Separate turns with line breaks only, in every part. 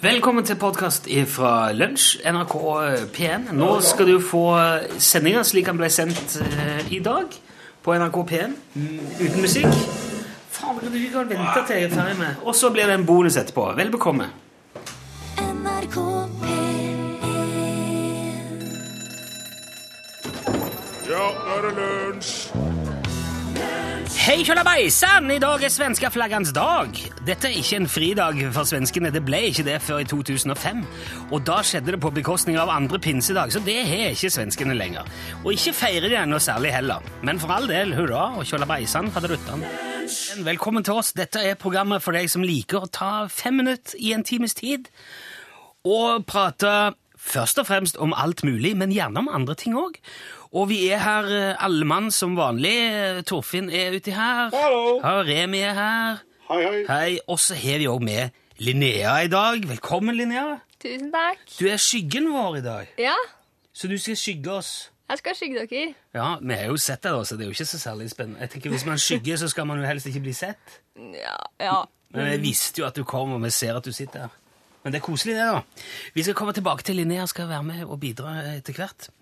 Velkommen til podkast fra Lunsj, NRK P1. Nå skal du få sendinga slik den ble sendt eh, i dag på NRK P1, mm, uten musikk. Faen, du kan ikke vente til jeg er ferdig med Og så blir det en bonus etterpå. Vel bekomme.
NRK P1
Ja, nå er det lunsj!
Hei kjølabeisan! I dag er svenskeflaggans dag. Dette er ikke en fridag for svenskene. Det ble ikke det før i 2005. Og da skjedde det på bekostning av andre pinsedag, så det har ikke svenskene lenger. Og ikke feirer de noe særlig heller. Men for all del, hurra og kjølabeisan faderuttan. Velkommen til oss. Dette er programmet for deg som liker å ta fem minutter i en times tid og prate først og fremst om alt mulig, men gjerne om andre ting òg. Og vi er her eh, alle mann som vanlig. Eh, Torfinn er uti her.
Hallo.
Ja, Remi er her.
Hei, hei.
Hei. Og så har vi òg med Linnea i dag. Velkommen, Linnea.
Tusen takk.
Du er skyggen vår i dag,
Ja,
så du skal skygge oss.
jeg skal skygge dere.
Ja, Vi har jo sett deg, da, så det er jo ikke så særlig spennende. Jeg tenker Hvis man skygger, så skal man jo helst ikke bli sett.
Ja, ja.
Men jeg visste jo at du kom, og vi ser at du sitter her. Men det er koselig, det, da. Vi skal komme tilbake til Linnea, skal være med og bidra etter hvert.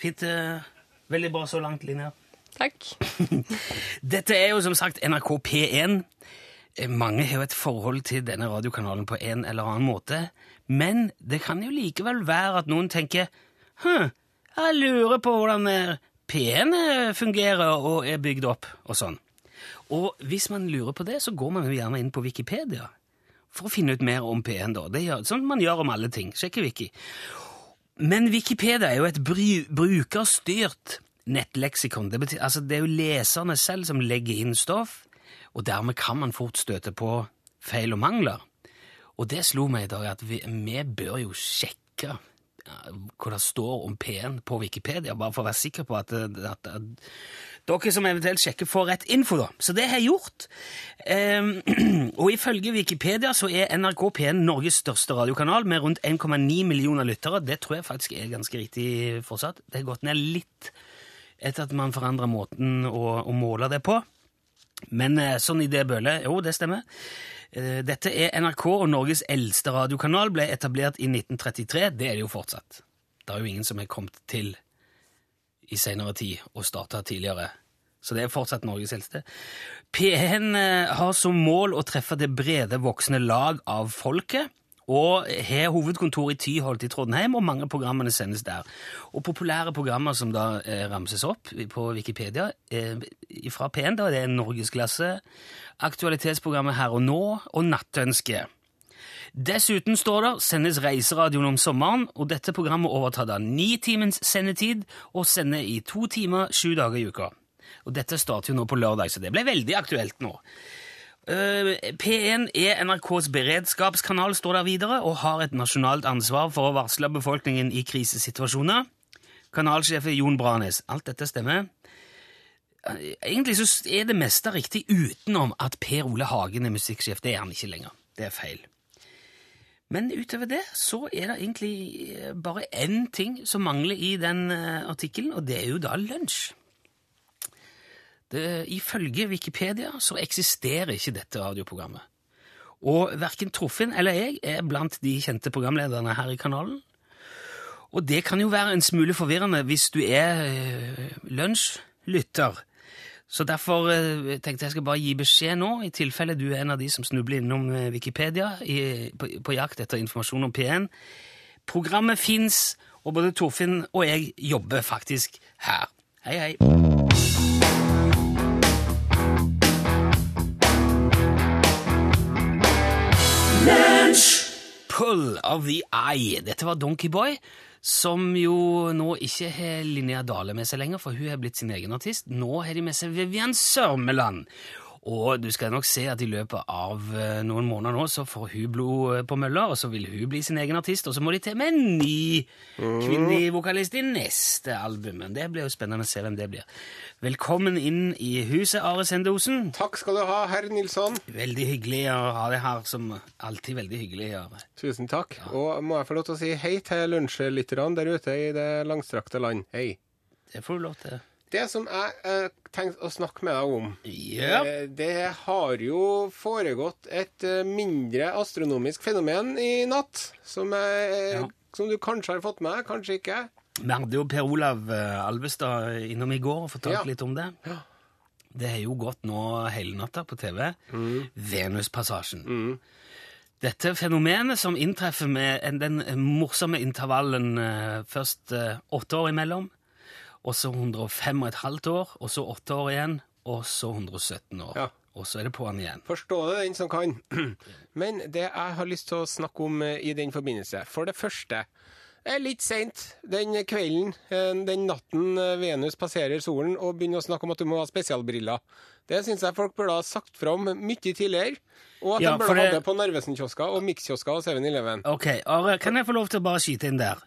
Fint. eh, Veldig bra så langt, Linnea.
Takk.
Dette er jo som sagt NRK P1. Eh, Mange har jo et forhold til denne radiokanalen på en eller annen måte, men det kan jo likevel være at noen tenker Hm, jeg lurer på hvordan eh, P1 fungerer og er bygd opp, og sånn. Og hvis man lurer på det, så går man jo gjerne inn på Wikipedia for å finne ut mer om P1, da. Det gjør, sånn man gjør om alle ting. Sjekke Wiki. Men Wikipedia er jo et bry brukerstyrt nettleksikon. Det, betyr, altså, det er jo leserne selv som legger inn stoff, og dermed kan man fort støte på feil og mangler. Og det slo meg i dag at vi, vi bør jo sjekke ja, hva det står om P1 på Wikipedia, bare for å være sikker på at, at, at dere som eventuelt sjekker, får rett info, da. Så det har jeg gjort. Ehm, og ifølge Wikipedia så er NRK P1 Norges største radiokanal med rundt 1,9 millioner lyttere. Det tror jeg faktisk er ganske riktig fortsatt. Det har gått ned litt etter at man forandra måten å, å måle det på. Men eh, sånn i det bølet Jo, det stemmer. Eh, Dette er NRK og Norges eldste radiokanal, ble etablert i 1933. Det er det jo fortsatt. Det er jo ingen som er kommet til i senere tid og starta tidligere. Så det er fortsatt Norges eldste. P1 eh, har som mål å treffe det brede, voksne lag av folket. Og har hovedkontor i Tyholt i Trondheim, og mange av programmene sendes der. Og populære programmer som da eh, ramses opp på Wikipedia eh, fra P1, da, det er Norgesklasse, Aktualitetsprogrammet Her og Nå og Nattønsket. Dessuten står der sendes reiseradioen om sommeren, og dette programmet overtar da ni timens sendetid og sender i to timer sju dager i uka. Og dette starter jo nå på lørdag, så det ble veldig aktuelt nå. Eh, P1 er NRKs beredskapskanal, står der videre, og har et nasjonalt ansvar for å varsle befolkningen i krisesituasjoner. Kanalsjef er Jon Branes. Alt dette stemmer. Eh, Egentlig så er det meste riktig utenom at Per Ole Hagen er musikksjef. Det er han ikke lenger. Det er feil. Men utover det så er det egentlig eh, bare én ting som mangler i den eh, artikkelen, og det er jo da lunsj. Det, ifølge Wikipedia så eksisterer ikke dette radioprogrammet. Og verken Torfinn eller jeg er blant de kjente programlederne her i kanalen. Og det kan jo være en smule forvirrende hvis du er eh, lunsjlytter. Så derfor eh, tenkte jeg skal bare gi beskjed nå, i tilfelle du er en av de som snubler innom eh, Wikipedia i, på, på jakt etter informasjon om P1. Programmet fins, og både Torfinn og jeg jobber faktisk her. Hei, hei. Pull of the Eye. Dette var Donkey Boy, som jo nå ikke har Linnea Dale med seg lenger, for hun har blitt sin egen artist. Nå har de med seg Vivian Sørmeland. Og du skal nok se at i løpet av eh, noen måneder nå så får hun blod eh, på mølla, og så vil hun bli sin egen artist, og så må de til med en ny kvinnelig vokalist i neste album. Men det blir jo spennende å se hvem det blir. Velkommen inn i huset, Are Sendosen.
Takk skal du ha, herr Nilsson.
Veldig hyggelig å ha deg her, som alltid veldig hyggelig. Are.
Tusen takk. Og må jeg få lov til å si hei til lunsjlytterne der ute i det langstrakte land. Hei.
Det får du lov til.
Det som jeg eh, tenkte å snakke med deg om
Ja.
eh, Det har jo foregått et eh, mindre astronomisk fenomen i natt, som, jeg, eh,
Ja.
som du kanskje har fått med deg, kanskje ikke.
Vi hadde jo Per Olav eh, Alvestad innom i går og fortalte
Ja.
litt om det.
Ja.
Det har jo gått nå hele natta på TV.
Mm.
Venuspassasjen. Dette fenomenet som inntreffer med en, den morsomme intervallen eh, først eh, åtte år imellom, og så 105 og et halvt år, og så åtte år igjen, og så 117 år.
Ja.
Og så er det på'n igjen.
Forstå det, den som kan. Men det jeg har lyst til å snakke om eh, i den forbindelse For det første, det er litt seint den kvelden, eh, den natten eh, Venus passerer solen, og begynner å snakke om at du må ha spesialbriller. Det syns jeg folk burde ha sagt fra om mye tidligere. Og at
Ja,
de
for
burde ha
det-
det på Narvesen-kiosker og Mix-kiosker og 7-Eleven.
Ok, Are, kan jeg få lov til å bare skyte inn der?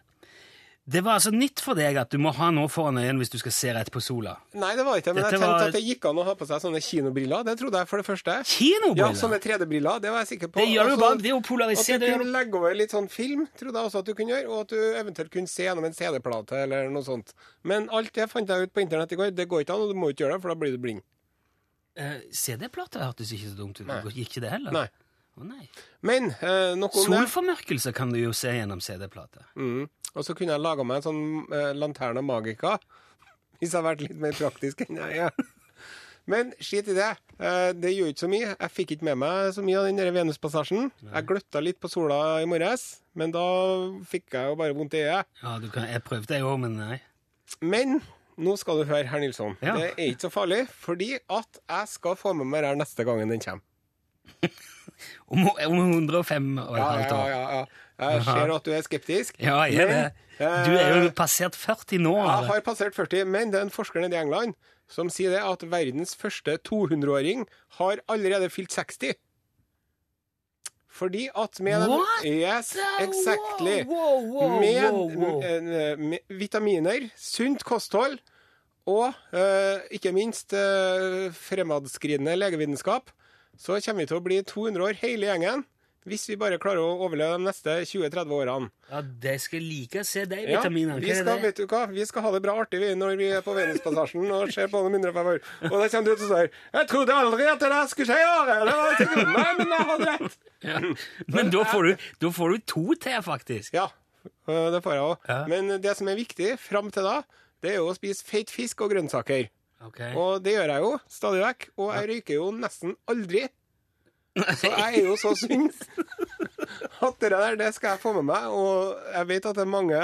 Det var altså nytt for deg at du må ha noe foran øynene hvis du skal se rett på sola.
Nei, det var ikke det, men jeg
Dette
tenkte
var-
at det gikk an å ha på seg sånne kinobriller. Det trodde jeg, for det første. Ja,
Kinobriller?
sånne 3D-briller, det var jeg sikker på.
Det gjør du
Og så-
bare, det er jo polarisert,
At du
det gjør
kunne legge over litt sånn film, trodde jeg også at du kunne gjøre, og at du eventuelt kunne se gjennom en CD-plate eller noe sånt. Men alt det fant jeg ut på internett i går, det går ikke an, og du må ikke gjøre det, for da blir du blind.
Eh, CD-plate hørtes ikke så dumt ut.
Nei.
Gikk ikke det heller?
Nei.
Å, nei.
Men eh, nok om det.
Solformørkelse kan du jo se gjennom CD-plate.
Mm. Og så kunne jeg laga meg en sånn eh, Lanterna Magica, hvis jeg hadde vært litt mer praktisk enn jeg er. Men skit i det. Eh, det gjorde ikke så mye. Jeg fikk ikke med meg så mye av den der Venuspassasjen. Jeg gløtta litt på sola i morges, men da fikk jeg jo bare vondt i øyet.
Ja, du kan, jeg prøvde jo, men nei.
Men nå skal du høre, herr Nilsson.
Ja.
Det er ikke så farlig, fordi at jeg skal få med meg det her neste gangen den kommer.
Om, om 105 og et
Ja,
halvt
ja,
år.
ja, ja. Jeg
Aha.
ser at du er skeptisk.
Ja, jeg er det.
Men, eh,
Du er jo passert 40 nå.
Jeg
Are.
har passert 40, men det er en forsker nede i England som sier det at verdens første 200-åring har allerede fylt 60. Fordi at med den
What?
Yes, exactly.
Wow, wow,
med,
wow, wow.
eh, med vitaminer, sunt kosthold og eh, ikke minst eh, fremadskridende legevitenskap, så kommer vi til å bli 200 år hele gjengen. Hvis vi bare klarer å overleve de neste 20-30 årene.
Ja, det skal like å se deg,
Ja,
vitaminer.
vi, skal, vet du hva? vi skal ha det bra artig vi, når vi er på Venuspassasjen og ser på dem 105 år. Og da kommer du ut og sier 'Jeg trodde aldri at det der skulle skje i år'. Det var ikke trodd. Nei, men jeg hadde rett.
Ja. Men da får, du, da får du to til, faktisk.
Ja, øh, det får jeg òg.
Ja.
Men det som er viktig fram til da, det er jo å spise feit fisk og grønnsaker.
Ok.
Og det gjør jeg jo stadig vekk. Og jeg røyker jo nesten aldri. Så jeg er jo så sunn at det der det skal jeg få med meg. Og jeg vet at det er mange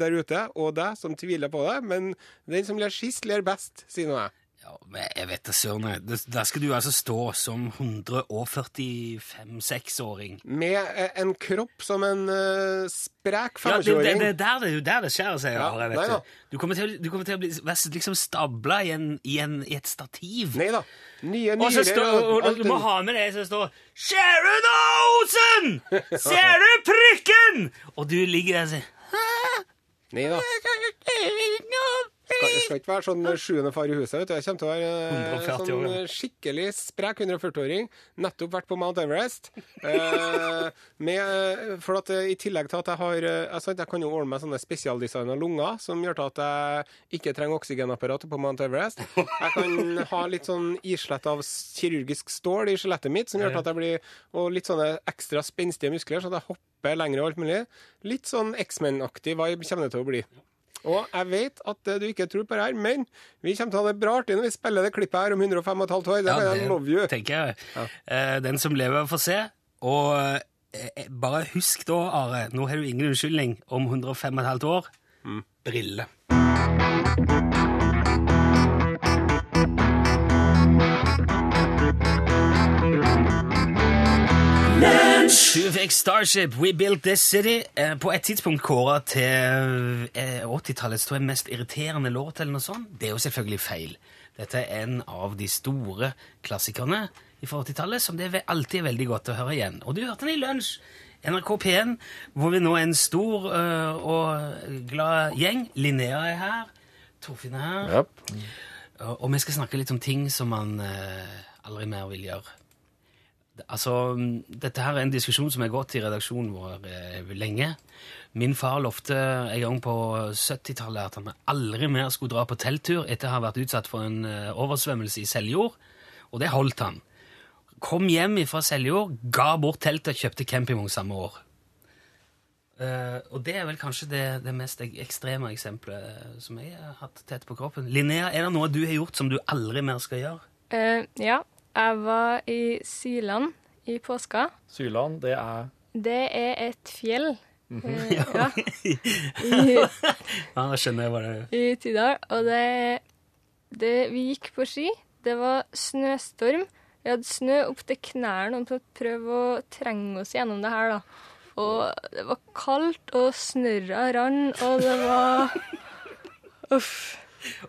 der ute, og deg, som tviler på det, men den som ler sist, ler best, sier nå jeg.
Ja, men jeg vet det, søren. jeg. Det- Der skal du altså stå som 145-6-åring.
Med eh, en kropp som en eh, sprek
Ja, det, det,
25-åring.
det, er der, det er jo der det skjer seg.
Ja,
Are,
nei da.
vet du. Du, kommer til, å- du kommer til å bli være s- liksom stabla i, en, i, en, i et stativ.
Nei da. Nye
Og så
nyrer
står, og,
alt
og, du må
rundt.
ha med deg som står 'Sharon Olsen! Ser du prikken?' Og du ligger der og sier
Nei da. Skal, skal ikke være sånn sjuende far i huset. vet du. Jeg kommer til å være eh,
140 år,
sånn
ja.
skikkelig sprek 140-åring. Nettopp vært på Mount Everest. Eh, med, eh, for at eh, I tillegg til at jeg har eh, jeg, sant, jeg kan jo ordne meg sånne spesialdesigna lunger som gjør til at jeg ikke trenger oksygenapparatet på Mount Everest. Jeg kan ha litt sånn islett av s- kirurgisk stål i skjelettet mitt, som gjør til at jeg blir Og litt sånne ekstra spenstige muskler, så at jeg hopper lenger og alt mulig. Litt sånn X-Men-aktig vibe kommer det til å bli. Og jeg vet at eh, du ikke tror på det her, men vi kommer til å ha det bra artig når vi spiller det klippet her om 105 15 år. Det kan jeg love you.
tenker jeg. Eh, den som lever, får se. Og eh, bare husk da, Are, nå har du ingen unnskyldning om 105 1/2 år.
Mm.
Brille. Du fikk Starship, We Built This City, eh, på et tidspunkt kåra til eh, 80-tallets tror jeg, mest irriterende låt, eller noe sånt. Det er jo selvfølgelig feil. Dette er en av de store klassikerne fra 80-tallet som det er ve- alltid er veldig godt å høre igjen. Og du hørte den i lunsj! NRK P1, hvor vi nå er en stor eh, og glad gjeng. Linnea er her. Torfinn er her. Og og vi skal snakke litt om ting som man eh, aldri mer vil gjøre. Altså, mm, dette her er en diskusjon som har gått i redaksjonen vår eh, lenge. Min far lovte en gang på 70-tallet at han aldri mer skulle dra på telttur etter å ha vært utsatt for en eh, oversvømmelse i Seljord, og det holdt han. Kom hjem fra Seljord, ga bort teltet og kjøpte campingvogn samme år. Eh, og det er vel kanskje det, det mest ek- ekstreme eksempelet som jeg har hatt tett på kroppen. Linnea, er det noe du har gjort som du aldri mer skal gjøre?
Eh, ja, jeg var i Syland i påska.
Syland, det er
Det er et fjell. eh, ja.
Ja, da skjønner jeg hva det er.
I, I Tydal. Og det, det Vi gikk på ski. Det var snøstorm. Vi hadde snø opp til knærne og måtte prøve å trenge oss gjennom det her, da. Og det var kaldt, og snørra rant, og det var Uff.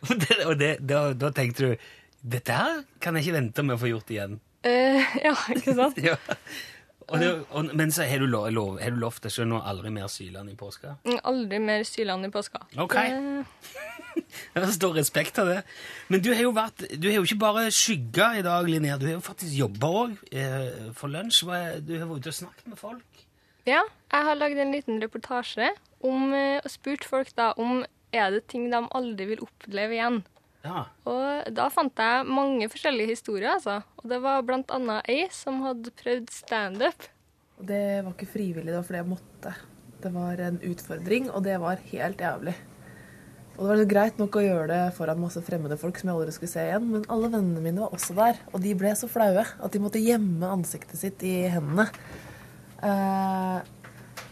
Og, det, og det, da, da tenkte du dette her kan jeg ikke vente med å få gjort igjen.
Eh, ja, ikke sant?
Ja. Og det, og, men så har du, lov, lov, har du lovt deg selv nå aldri mer Syland i påska?
Aldri mer Syland i påska.
Ok.
Eh,
Det er stor respekt av det. Men du har jo, vært, du har jo ikke bare skygga i dag, Linnea. Du har jo faktisk jobba òg eh, for lunsj. Hva er- Du har vært ute og snakket med folk.
Ja, jeg har lagd en liten reportasje om, eh, og spurt folk da om er det ting de aldri vil oppleve igjen.
Ja.
Og da fant jeg mange forskjellige historier, altså. Og det var blant annet ei som hadde prøvd standup.
Og Det var ikke frivillig, det var fordi jeg måtte. Det var en utfordring, og det var helt jævlig. Og det var så greit nok å gjøre det foran masse fremmede folk som jeg aldri skulle se igjen, men alle vennene mine var også der, og de ble så flaue at de måtte gjemme ansiktet sitt i hendene. Eh,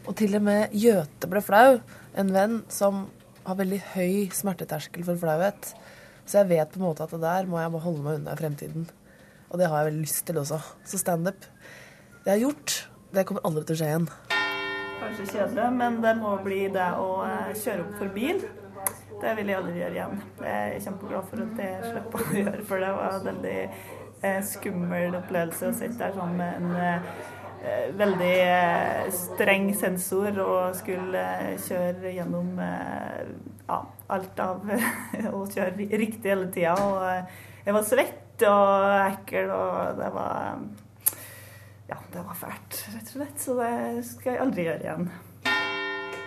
og til og med Gjøte ble flau, en venn som har veldig høy smerteterskel for flauhet. Så jeg vet på en måte at det der må jeg bare holde meg unna i fremtiden. Og det har jeg veldig lyst til også. Så standup det jeg har gjort, det kommer aldri til å skje igjen.
Kanskje kjedelig, men det må bli det å eh, kjøre opp for bil. Det vil jeg aldri gjøre igjen. Jeg er kjempeglad for at jeg slipper å gjøre, for det var en veldig eh, skummel opplevelse å sitte der sammen med en eh, veldig eh, streng sensor og skulle eh, kjøre gjennom eh, ja, alt av å kjøre riktig hele tida. Og eh, jeg var svett og ekkel, og det var Ja, det var fælt, rett og slett. Så det skal jeg aldri gjøre igjen.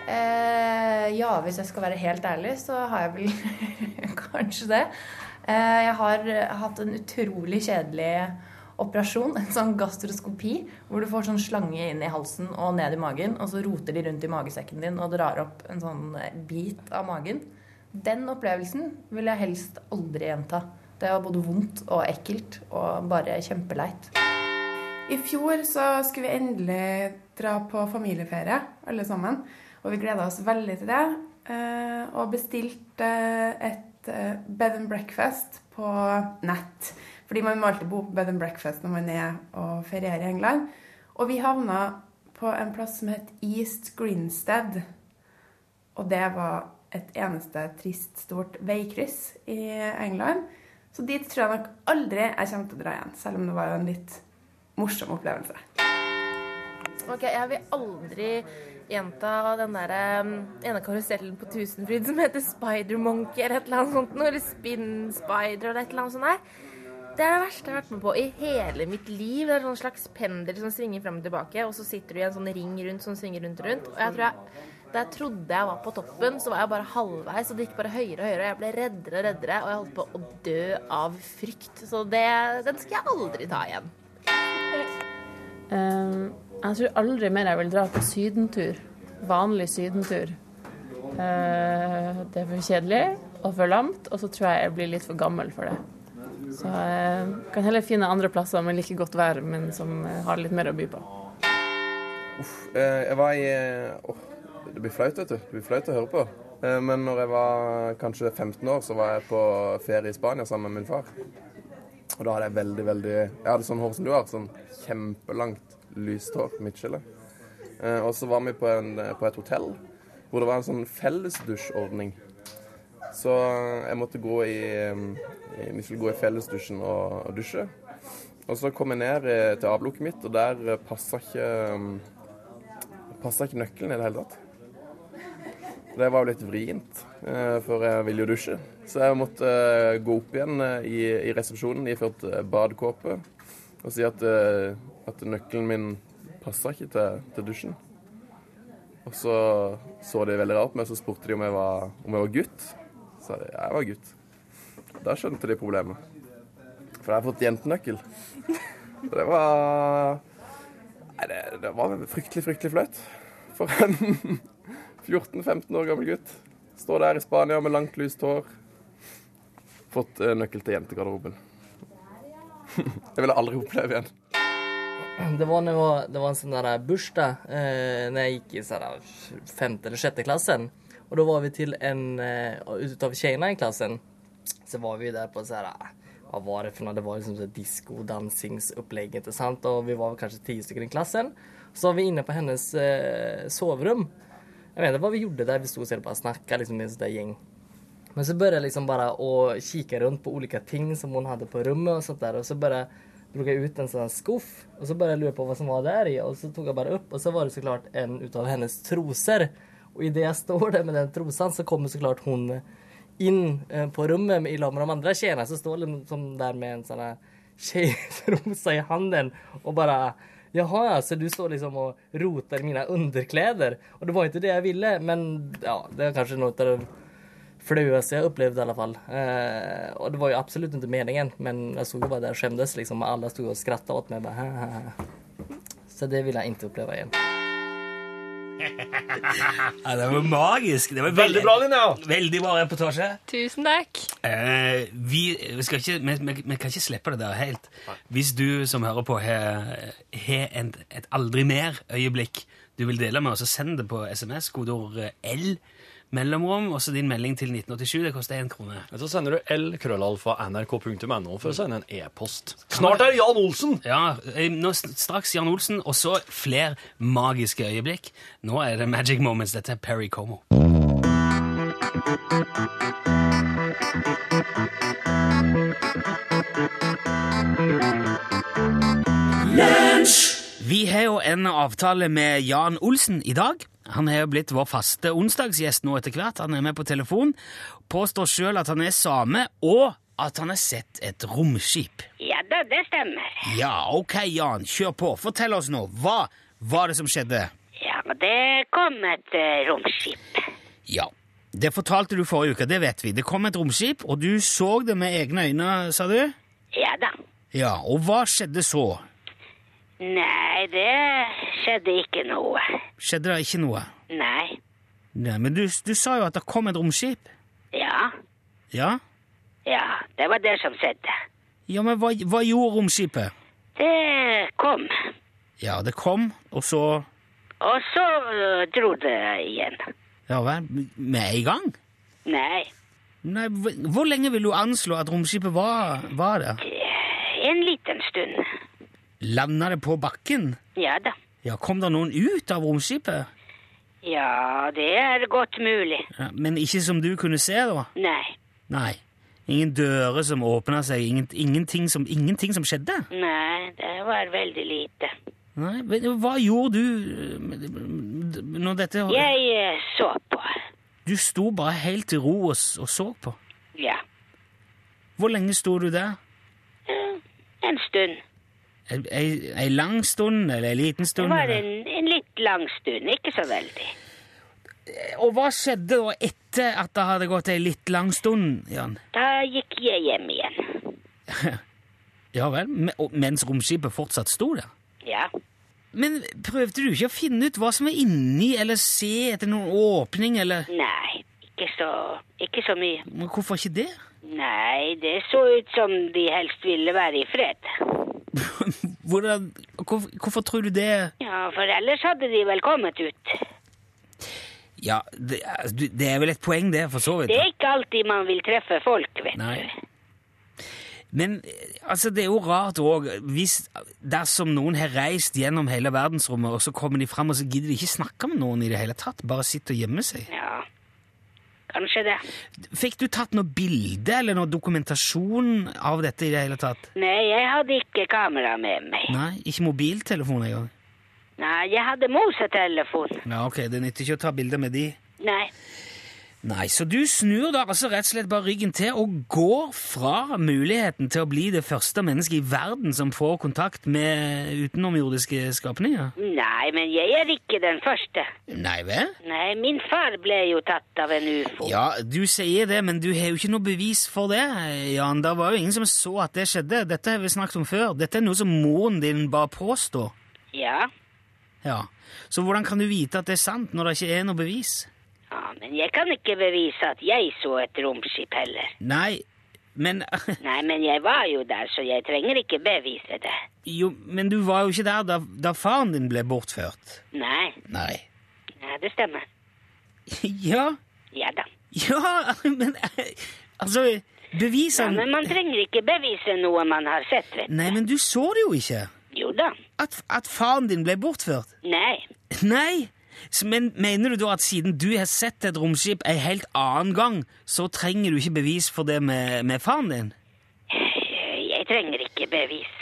Eh, ja, hvis jeg skal være helt ærlig, så har jeg vel kanskje det. Eh, jeg har eh, hatt en utrolig kjedelig operasjon, en sånn gastroskopi, hvor du får sånn slange inn i halsen og ned i magen, og så roter de rundt i magesekken din og drar opp en sånn eh, bit av magen. Den opplevelsen vil jeg helst aldri gjenta. Det var både vondt og ekkelt og bare kjempeleit.
I fjor så skulle vi endelig dra på familieferie, alle sammen. Og vi gleda oss veldig til det. eh, Og bestilte eh, et eh, bed and breakfast på nett. Fordi man må alltid bo på bed and breakfast når man er og ferierer i England. Og vi havna på en plass som het East Greenstead. Og det var et eneste trist, stort veikryss i England. Så dit tror jeg nok aldri jeg kommer til å dra igjen, selv om det var jo en litt morsom opplevelse.
Ok, jeg vil aldri gjenta den der um, ene karusellen på Tusenfryd som heter Spider-Monkey eller et eller annet sånt noe, eller Spin Spider eller et eller annet sånt der. Det er det verste jeg har vært med på i hele mitt liv. Det er en slags pendel som svinger frem og tilbake, og så sitter du i en sånn ring rundt som svinger rundt og rundt. Og jeg tror jeg, da jeg trodde jeg var på toppen, så var jeg bare halvveis, og det gikk bare høyere og høyere, og jeg ble reddere og reddere, og jeg holdt på å dø av frykt. Så det, den skal jeg aldri ta igjen.
Ehm, jeg tror aldri mer jeg vil dra på sydentur. Vanlig sydentur. Eh, det er for kjedelig og for lamt, og så tror jeg jeg blir litt for gammel for det. Så jeg kan heller finne andre plasser med like godt vær, men som eh, har litt mer å by på.
Eh, Jeg var i eh, åh, Det blir flaut, vet du. Det blir flaut å høre på. Eh, Men når jeg var kanskje 15 år, så var jeg på ferie i Spania sammen med min far. Og da hadde jeg veldig, veldig Jeg hadde sånn hår som du har. Sånn kjempelangt, lyst hår. Midtskille. Eh, Og så var vi på, en, på et hotell hvor det var en sånn fellesdusjordning. Så jeg måtte gå i eh, Vi skulle gå i fellesdusjen og, og dusje. Og så kom jeg ned eh, til avlukket mitt, og der passa ikke eh, passa ikke nøkkelen i det hele tatt. Det var jo litt vrient, eh, for jeg ville jo dusje. Så jeg måtte eh, gå opp igjen eh, i, i resepsjonen iført eh, badekåpe og si at eh, at nøkkelen min passa ikke til, til dusjen. Og så så de veldig rart på meg, så spurte de om jeg var, om jeg var gutt. Så sa de ja, jeg var gutt. Da skjønte de problemet. For jeg har fått jentenøkkel. Og det var Nei, det, det var fryktelig, fryktelig flaut. For en 14-15 år gammel gutt. Står der i Spania med langt, lyst hår. Fått eh, nøkkel til jentegarderoben. Det vil jeg aldri oppleve igjen.
Det var, når jeg var, det var en sånn der bursdag eh, når jeg gikk i sånn der femte eller sjette klassen. Og da var vi til en eh, utav tjejerna i klassen. Så var vi der på sånn her Hva var det for noe? Det var liksom sånn disko-dansingsopplegget. ikke sant? Og vi var kanskje ti stykker i klassen. Så var vi inne på hennes eh, soverom. Jeg vet ikke hva vi gjorde der. Vi sto og så bare snakka liksom, med en sånn der gjeng. Men så började jag liksom bara att kika runt på olika ting som hon hade på rummet och sånt där. Och så började drog jag ut en sån här skuff och så började jag lura på vad som var där i. Och så tog jag bara upp och så var det såklart en utav hennes trosor. Och i det jag står där med den trosan så kommer såklart hon in eh, på rummet med- i lag med de andra tjejerna. Så står hon som där med en sån här tjejtrosa i handen och bara Jaha, ja, så du står liksom och rotar i mina underkläder. Och det var inte det jag ville, men ja, det var kanske något av det flaueste jeg opplevde, i alle fall. Eh, og det var jo absolutt ikke meningen, men jeg så jo bare der skjemtes, liksom. og Alle sto og skratta åt meg. Bare, hæ, hæ, hæ. Så det vil jeg ikke oppleve igjen.
Ja, det var magisk. Det var
Veldig bra,
Veldig bra reportasje.
Tusen takk.
Eh, vi, vi, skal ikke, vi, vi, vi kan ikke slippe det der helt. Hvis du som hører på har har en- et aldri mer-øyeblikk du vil dele med oss, så send det på SMS, kodeord L, mellomrom, og så din melding til 1987. Det koster én krone.
Så sender du l-krøllalfa-nrk.no for å sende en e-post. Snart er det Jan Olsen!
Ja, eh, nå s- straks Jan Olsen, og så flere magiske øyeblikk. Nå er det Magic Moments. Dette er Perry Como. Vi har jo en avtale med Jan Olsen i dag. Han har jo blitt vår faste onsdagsgjest nå etter hvert. Han er med på telefon. Påstår sjøl at han er same, og at han har sett et romskip.
Ja da, det stemmer.
Ja, ok, Jan, kjør på. Fortell oss nå. Hva var det som skjedde?
Ja, det kom et eh, romskip.
Ja, det fortalte du forrige uke, det vet vi. Det kom et romskip, og du så det med egne øyne, sa du?
Ja da.
Ja, og hva skjedde så?
Nei, det skjedde ikke noe.
Skjedde det ikke noe?
Nei.
Nei, men du, du sa jo at det kom et romskip.
Ja.
Ja?
Ja, det var det som skjedde.
Ja, men hva, hva gjorde romskipet?
Det kom.
Ja, det kom, og så
Og så eh, dro det igjen.
Ja vel, med en gang?
Nei.
Nei, hvor hvor lenge vil du anslå at romskipet var, var der?
En liten stund.
Landa det på bakken?
Ja da.
Ja, kom det noen ut av romskipet?
Ja, det er godt mulig.
Ja, men ikke som du kunne se, da?
Nei.
Nei. Ingen dører som åpna seg, ingen, ingenting, som, ingenting som skjedde?
Nei, det var veldig lite.
Nei, men Hva gjorde du eh, med- med- med- når dette
Jeg eh, så på.
Du sto bare helt i ro og, s- og så på.
Ja.
Hvor lenge sto du der?
En stund.
Ei, ei, ei lang stund, eller ei liten
Det
stund?
var
eller?
en, en litt lang stund, ikke så veldig.
Og hva skjedde da etter at det hadde gått ei litt lang stund, Jan?
Da gikk jeg hjem igjen.
Ja vel, men- og- mens romskipet fortsatt sto der?
Ja.
Men prøvde du ikke å finne ut hva som var inni, eller se etter noen åpning, eller
Nei, ikke så, ikke så mye.
Men Hvorfor ikke det?
Nei, det så ut som de helst ville være i fred.
Hvordan, hvorfor, hvorfor tror du det
Ja, for ellers hadde de vel kommet ut.
Ja, det, er- du- det er vel et poeng, det, for så vidt.
Det er ikke alltid man vil treffe folk, vet du.
Nei. Men eh, altså, det er jo rart òg hvis Dersom noen har reist gjennom hele verdensrommet, og så kommer de fram, og så gidder de ikke snakke med noen i det hele tatt, bare sitter og gjemmer seg.
Ja, kanskje det.
Fikk du tatt noe bilde eller noe dokumentasjon av dette i det hele tatt?
Nei, jeg hadde ikke kamera med meg.
Nei, ikke mobiltelefon engang?
Nei, jeg hadde mosetelefon.
Ja, ok, det nytter ikke å ta bilder med de.
Nei.
Nei, så du snur da altså rett og slett bare ryggen til og går fra muligheten til å bli det første mennesket i verden som får kontakt med utenomjordiske skapninger?
Nei, men jeg er ikke den første.
Nei vel?
Nei, min far ble jo tatt av en ufo.
Ja, du sier det, men du har jo ikke noe bevis for det, Jan. Det var jo ingen som så at det skjedde. Dette har vi snakket om før. Dette er noe som moren din bare påstår.
Ja,
Ja. Så hvordan kan du vite at det er sant når det ikke er noe bevis?
ja men jeg kan ikke bevise at jeg så et romskip heller.
Nei, men
Nei, men jeg var jo der, så jeg trenger ikke bevise det.
Jo, men du var jo ikke der da, da faren din ble bortført.
Nei,
Nei.
nei det stemmer.
Ja,
Ja da.
ja, men altså
Ja,
Bevisene
men man trenger ikke bevise noe man har sett, vet du.
Nei, men du så det jo ikke.
Jo da.
At, at faren din ble bortført.
Nei.
Nei! S- Men mener du da at siden du har sett et romskip en helt annen gang, så trenger du ikke bevis for det med, med faren din?
Jeg trenger ikke bevis.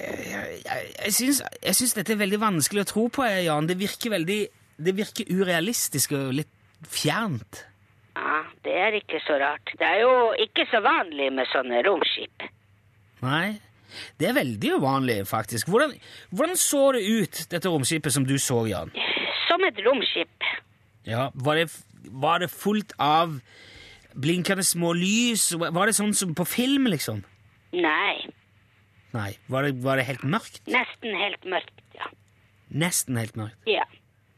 Jeg, jeg, syns, jeg syns dette er veldig vanskelig å tro på, eh, Jan. Det virker veldig Det virker urealistisk og litt fjernt.
Ja, det er ikke så rart. Det er jo ikke så vanlig med sånne romskip.
Nei. Det er veldig uvanlig, faktisk. Hvordan, hvordan så det ut, dette romskipet som du så, Jan?
Som et romskip.
Ja, var det, var det fullt av blinkende små lys? Var det sånn som på film, liksom?
Nei,
Nei. Var det, var det helt mørkt?
nesten helt mørkt, ja.
Nesten helt mørkt.
Ja,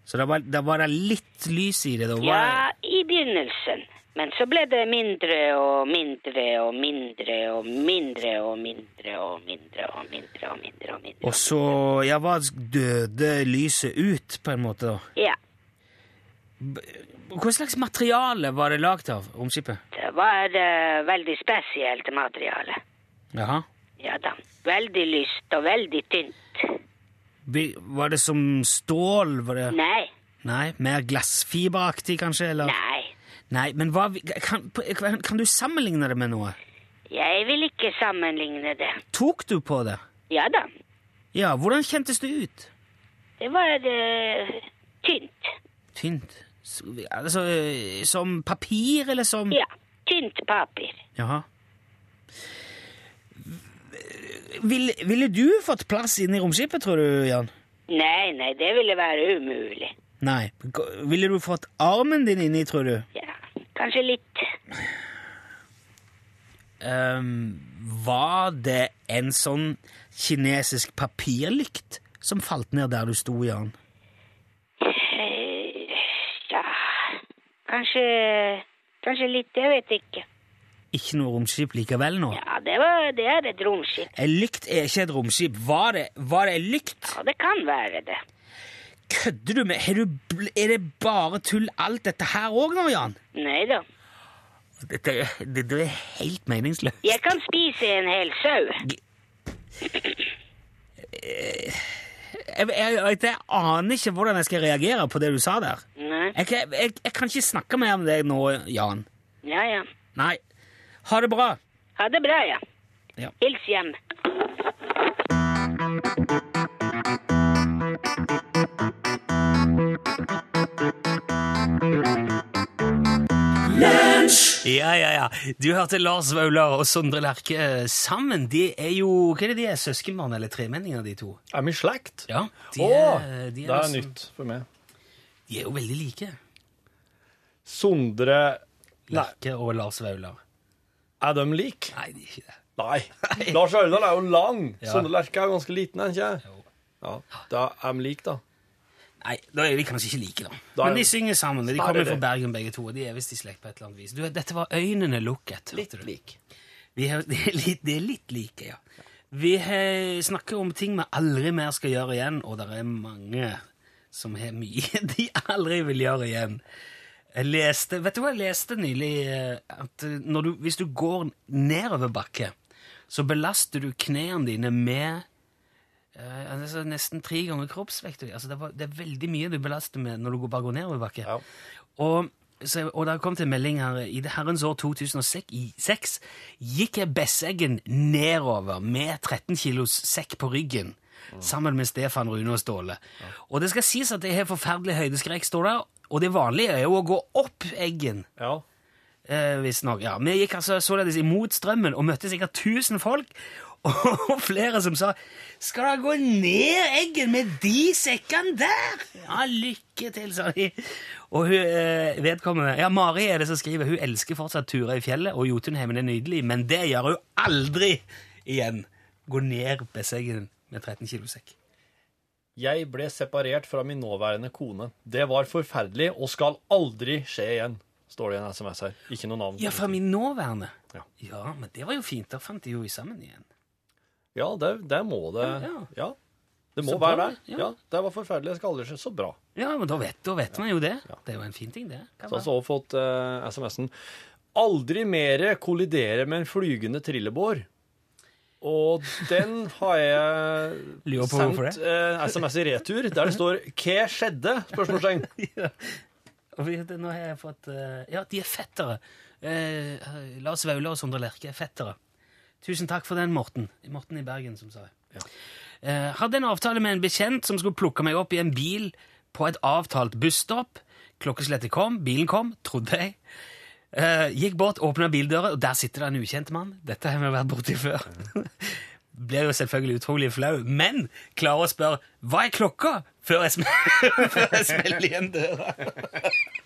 Så da var, da var det litt lys i det? Da var
ja i begynnelsen. Men så ble det mindre og mindre og mindre og mindre og mindre og mindre og mindre og mindre og mindre.
Og så ja, var døde lyset ut, på en måte? da.
Ja,
Hva slags materiale var det lagd av, romskipet?
det var eh, veldig spesielt materiale.
Jaha.
Ja da, veldig lyst og veldig tynt.
Vi- Var det som stål? Var det...
Nei,
Nei, Mer glassfiberaktig, kanskje? eller?
nei,
Nei, men hva, vi- kan, kan kan du sammenligne det med noe?
jeg vil ikke sammenligne det.
Tok du på det?
Ja da,
Ja, hvordan kjentes det ut?
det var eh, tynt.
Tynt. S- Altså, eh, som papir, eller som
Ja, tynt papir.
Jaha. Ville, ville du fått plass inne i romskipet, tror du, Jan?
Nei, nei, det ville være umulig.
Nei. G- Ville du fått armen din inni, tror du?
Kanskje litt.
Ehm, var det en sånn kinesisk papirlykt som falt ned der du sto, Jan?
Eh, Ja, kanskje, kanskje litt, jeg vet ikke.
Ikke noe romskip likevel nå?
Ja, det, var, det er et romskip.
En lykt er ikke et romskip. Var det, var det en lykt?
Ja, det kan være det.
Kødder du med? Har du, bl- er det bare tull alt dette her òg nå, Jan?
Nei da.
Dette, er- dette er helt meningsløst.
Jeg kan spise en hel sau.
Jeg, jeg, jeg, jeg aner ikke hvordan jeg skal reagere på det du sa der.
Nei.
Jeg, kan- jeg, jeg kan ikke snakke mer om deg nå, Jan.
Ja, ja.
Nei. Ha det bra.
Ha det bra, ja.
Ja.
Hils hjem.
Ja, ja, ja. Du hørte Lars Vaular og Sondre Lerche eh, sammen. De er jo Hva er det de er? Søskenbarn eller tremenninger, de to?
Er vi i slekt?
Ja. De
Å,
er- de er
det er
liksom-
nytt for meg.
De er jo veldig like.
Sondre
Lerche og Lars Vaular.
Er de like?
Nei, de er ikke det.
Nei. Lars Aurdal er jo lang.
Ja.
Sondre Lerche er jo ganske liten, er han ikke? Ja. Da er de like, da.
Nei, da er de kanskje ikke like, da.
Da er-
Men de synger sammen. og De
Da er
kommer
det
fra
det.
Bergen begge to, og de er visst i slekt på et eller annet vis. Du, eh, dette var Øynene lukket. Litt lik. Vi har, de, er litt, de er litt like, ja. Vi har snakker om ting vi aldri mer skal gjøre igjen, og det er mange som har mye de aldri vil gjøre igjen. Jeg leste, vet du hva jeg leste nylig? eh, At eh, når du, hvis du går nedover bakke, så belaster du knærne dine med Eh, altså nesten tre ganger kroppsvekt. Altså det, var, det er veldig mye du belaster med når du går, bare går nedover bakke. Og, så, og da kom det en melding her i det herrens år 2006 i- seks gikk jeg Besseggen nedover med 13 kilos sekk på ryggen. Sammen med Stefan, Rune og Ståle. Og det skal sies at jeg har forferdelig høydeskrekk, står det. Og det vanlige er jo å gå opp eggen. Ja. Eh, hvis nok, ja. Vi gikk altså således imot strømmen og møtte sikkert 1000 folk. Og flere som sa 'Skal dere gå ned eggen med de sekkene der?' Ja, lykke til, sa de. Og hun eh, vedkommende Ja, Mari er det som skriver. Hun elsker fortsatt turer i fjellet, og Jotunheimen er nydelig, men det gjør hun aldri igjen. Gå ned Besseggen med 13 kilo sekk.
Jeg ble separert fra min nåværende kone. Det var forferdelig og skal aldri skje igjen, står det i en SMS her. Ikke noe navn.
Ja, fra min nåværende.
Ja.
Ja, men det var jo fint. Da fant de jo sammen igjen.
Ja, det, det må det.
Ja, ja.
Ja. Det må
Så
være
bra,
der.
ja.
Ja, det var forferdelig. Jeg skal aldri skje så bra.
Ja, men da vet, da vet man jo det. Det er jo en fin ting, det.
Så har vi også fått eh, SMS-en. Aldri mere kollidere med en flygende trillebår. Og den har jeg
Lurer på
sendt
hvorfor det.
eh, SMS i retur, der det står 'Hva skjedde?' spørsmålstegn.
Og vi, det, nå har jeg fått eh, Ja, de er fettere. Eh, Lars Vaular og Sondre Lerche er fettere. Tusen takk for den, Morten. Morten i Bergen, som sa det. Eh, hadde en avtale med en bekjent som skulle plukke meg opp i en bil på et avtalt busstopp. Klokkeslettet kom, bilen kom, trodde jeg. Eh, gikk bort, åpna bildøra, og der sitter det en ukjent mann. Dette har vi vært borti før. Blir jo selvfølgelig utrolig flau, men klarer å spørre 'Hva er klokka?' før jeg, sm før jeg smeller igjen døra.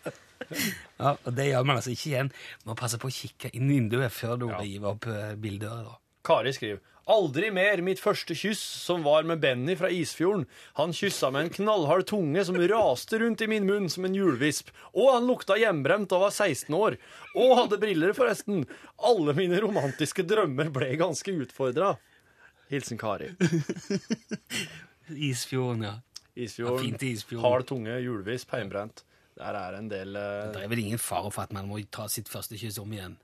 ja, og det gjør man altså ikke igjen. Man passer på å kikke inn vinduet før du river opp eh, bildøra. da.
Kari skriver Aldri mer mitt første kyss, som var med Benny fra Isfjorden. Han kyssa med en knallhard tunge som raste rundt i min munn som en hjulvisp. Og han lukta hjemmebrent og var 16 år. Og hadde briller, forresten. Alle mine romantiske drømmer ble ganske utfordra. Hilsen Kari.
Isfjorden, ja. Ja,
Isfjorden,
fint i Isfjorden.
Hard tunge, hjulvisp, hjemmebrent. Der er en del eh,
Det er vel ingen fare for at man må ta sitt første kyss om igjen.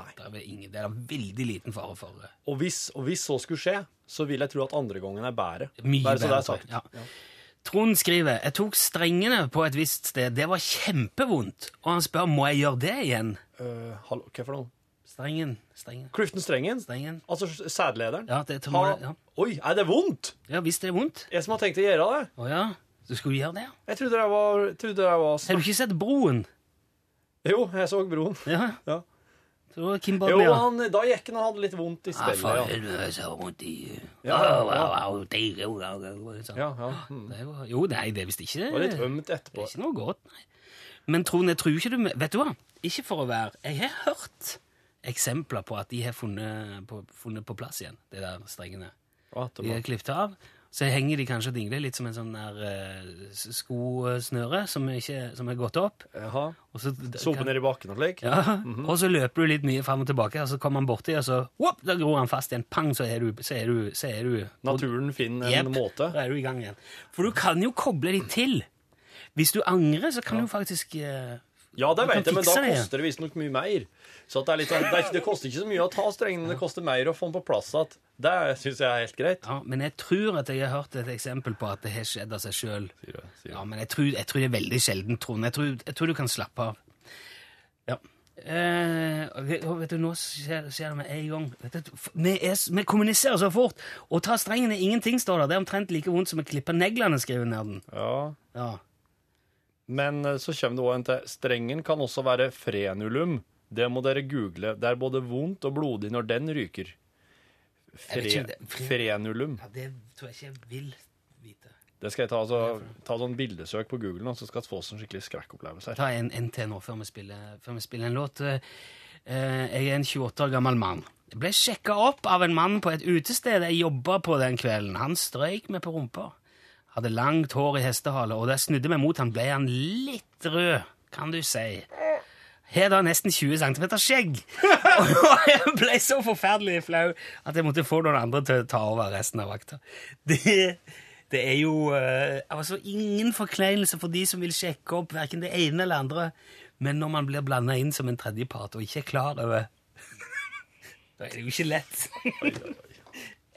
Nei. Det er vel ingen, det er veldig liten fare for eh, det.
og, hvis, og hvis så skulle skje, så vil jeg tro at andre gangen er bedre.
Mye
Bare så det
bedre,
er sagt.
ja. Trond skriver Jeg tok strengene på et visst sted. Det var kjempevondt. Og han spør må jeg gjøre det igjen.
Eh, hallo, hva for noe?
Strengen. strengen.
Kløften Strengen? Altså s- sædlederen?
Ja, det tror
Ha-
jeg, ja.
Oi, er det vondt?
Ja, hvis det er vondt.
Jeg som har tenkt å gjøre det.
Å ja. Du skulle gjøre det?
Jeg trodde jeg var, trodde jeg var
Har du ikke sett Broen?
Jo, jeg så Broen.
Ja.
ja.
Tror du Kim
Jo,
Bodnia?
han, da gikk han og hadde litt vondt i
Ja, for
spillet.
helvete, så vondt i
Ja,
Au,
ja.
au, au, det er jo- sånn. Det er jo- Jo, nei, det er visst ikke det.
Og litt ømt etterpå.
Det er ikke noe godt, nei. Men Trond, jeg tror ikke du Vet du hva? Ikke for å være Jeg har hørt eksempler på at de har funnet på, funnet på plass igjen, de der strengene.
det
De
var-
har klippet av. Så henger de kanskje og dingler litt som en sånn der eh, s- skosnøre som, ikke, som er gått opp.
Jaha.
Og så-
Sope ned i bakken og slik.
ja,
Mhm.
og så løper du litt mye frem og tilbake, og så kommer han borti, og så whoop, da gror han fast igjen. Pang, så er du, så er du, så er du
Naturen finner en
Jep,
måte.
Da er du i gang igjen. For du kan jo koble de til. Hvis du angrer, så kan du faktisk eh,
Ja, det
Du kan
vet jeg, men da
fikse det igjen.
koster det visstnok mye mer. Så at det, er litt, sånn- det, er ikke, det koster ikke så mye å ta strengene, det koster mer å få den på plass igjen. Det syns jeg er helt greit.
Ja, men jeg tror at jeg har hørt et eksempel på at det har skjedd av seg sjøl. Ja, men jeg tror, jeg tror det er veldig sjelden, Trond. Jeg tror, jeg tror du kan slappe av. Ja. Eh, ok, og vet du, Nå skjer, skjer det med en gang. Vet du, f- vi, er, s- vi kommuniserer så fort! Å ta strengen er ingenting, står det. Det er omtrent like vondt som å klippe neglene, skriver nerden.
Ja.
Ja.
Men eh, så kommer det også en til. Strengen kan også være frenulum. Det må dere google. Det er både vondt og blodig når den ryker.
Jeg
Fre,
vet ikke om det-
frenulum.
ja, det tror jeg ikke jeg vil vite.
Det skal jeg ta, altså, ta sånn bildesøk på Google, nå, så skal vi få oss en skikkelig skrekkopplevelse her.
Ta en, en til nå før vi spiller, før vi spiller en låt. Eh, jeg er en 28 år gammel mann. Jeg ble sjekka opp av en mann på et utested jeg jobba på den kvelden. Han strøyk meg på rumpa. Hadde langt hår i hestehale, og da jeg snudde meg mot han, ble han litt rød, kan du si. Har da nesten 20 cm skjegg. Og jeg ble så forferdelig flau at jeg måtte få noen andre til å ta over resten av vakta. Det, det er jo eh, altså ingen forkleinelse for de som vil sjekke opp hverken det ene eller andre, men når man blir blanda inn som en tredjepart og ikke er klar over Da er det jo ikke lett.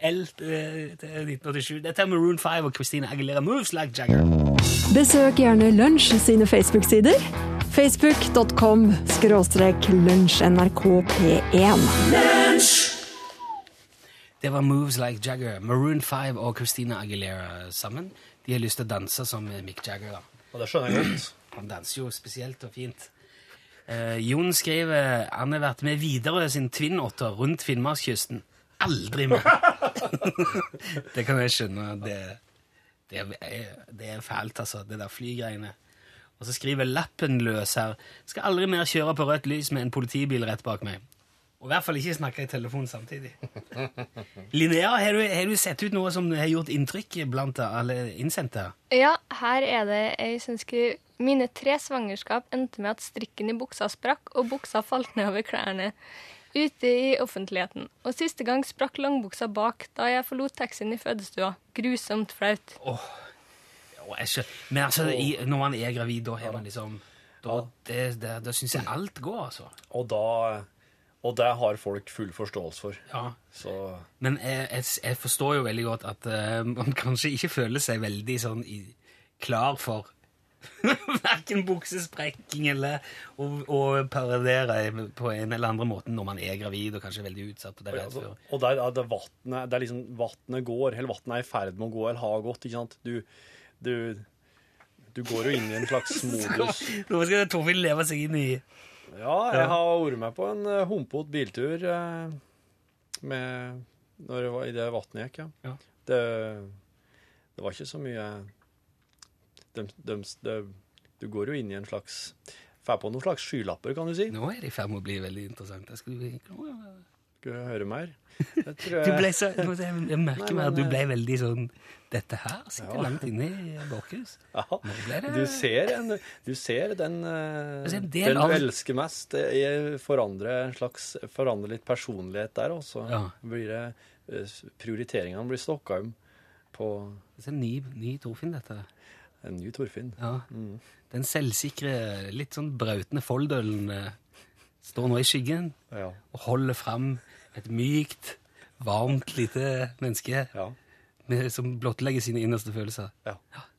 L eh, til 1987. Dette er Maroon 5 og Christina Aguilera moves like Jagger.
Besøk gjerne Lunsj sine Facebook-sider. Facebook.com skråstrek lunsjnrkp1.
Det var Moves Like Jagger. Maroon 5 og Christina Aguilera sammen. De har lyst til å danse som Mick Jagger. da.
Og det skjønner jeg godt.
Han danser jo spesielt og fint. Eh, Jon skriver han har vært med Widerøe sin Twin-åtter rundt Finnmarkskysten. Aldri mer! det kan jeg skjønne. Det, det, er, det er fælt, altså. Det der flygreiene. Og så skriver lappen løs her. Skal aldri mer kjøre på rødt lys med en politibil rett bak meg. Og i hvert fall ikke snakke i telefon samtidig. Linnea, har du, har du sett ut noe som har gjort inntrykk blant alle innsendte?
Ja, her er det ei som skriver Mine tre svangerskap endte med at strikken i buksa sprakk, og buksa falt ned over klærne. Ute i offentligheten. Og siste gang sprakk langbuksa bak, da jeg forlot taxien i fødestua. Grusomt flaut.
Åh, Å, jeg skjønner. Men altså, i, når man er gravid, da har man liksom Da, det, det, da syns jeg alt går, altså.
Og da Og det har folk full forståelse for.
Ja.
Så
Men jeg, jeg, jeg forstår jo veldig godt at eh, man kanskje ikke føler seg veldig sånn i, klar for verken buksesprekking eller å, å paradere på en eller andre måten når man er gravid og kanskje er veldig utsatt. Og det er redd for.
Og der er det vattnet Det er liksom vattnet går, eller vattnet er i ferd med å gå, eller har gått, ikke sant? Du, du, du går jo inn i en slags modus.
Nå skal Torfinn leve seg inn i
Ja, jeg har vært med på en eh, humpete biltur eh, med, når det var, i det vannet gikk, ja.
Ja.
Det, det var ikke så mye de, de, de, Du går jo inn i en slags Får på noen slags skylapper, kan du si.
Nå er det i ferd med å bli veldig interessant. Jeg skulle,
Skal vi høre mer? Jeg tror
du
jeg-
ble så, jeg jeg merker
Nei,
meg at du
men,
ble
eh,
veldig sånn Dette her sitter
Ja.
langt inne i Eh, bakhus.
Ja,
ble det-
du ser, en, du ser den, eh,
Altså, en del
den
av-
du elsker mest, eh, forandre, en slags, forandre litt personlighet der også.
Ja.
Blir det, eh, s- prioriteringene blir stokka om på
Det er en ny, ny Torfinn, dette.
En ny Torfinn.
Ja.
Mm.
Den selvsikre, litt sånn brautende Folldølen eh, står nå i skyggen
Ja.
og holder fram et mykt, varmt lite menneske med, som blottlegger sine innerste følelser. Ja.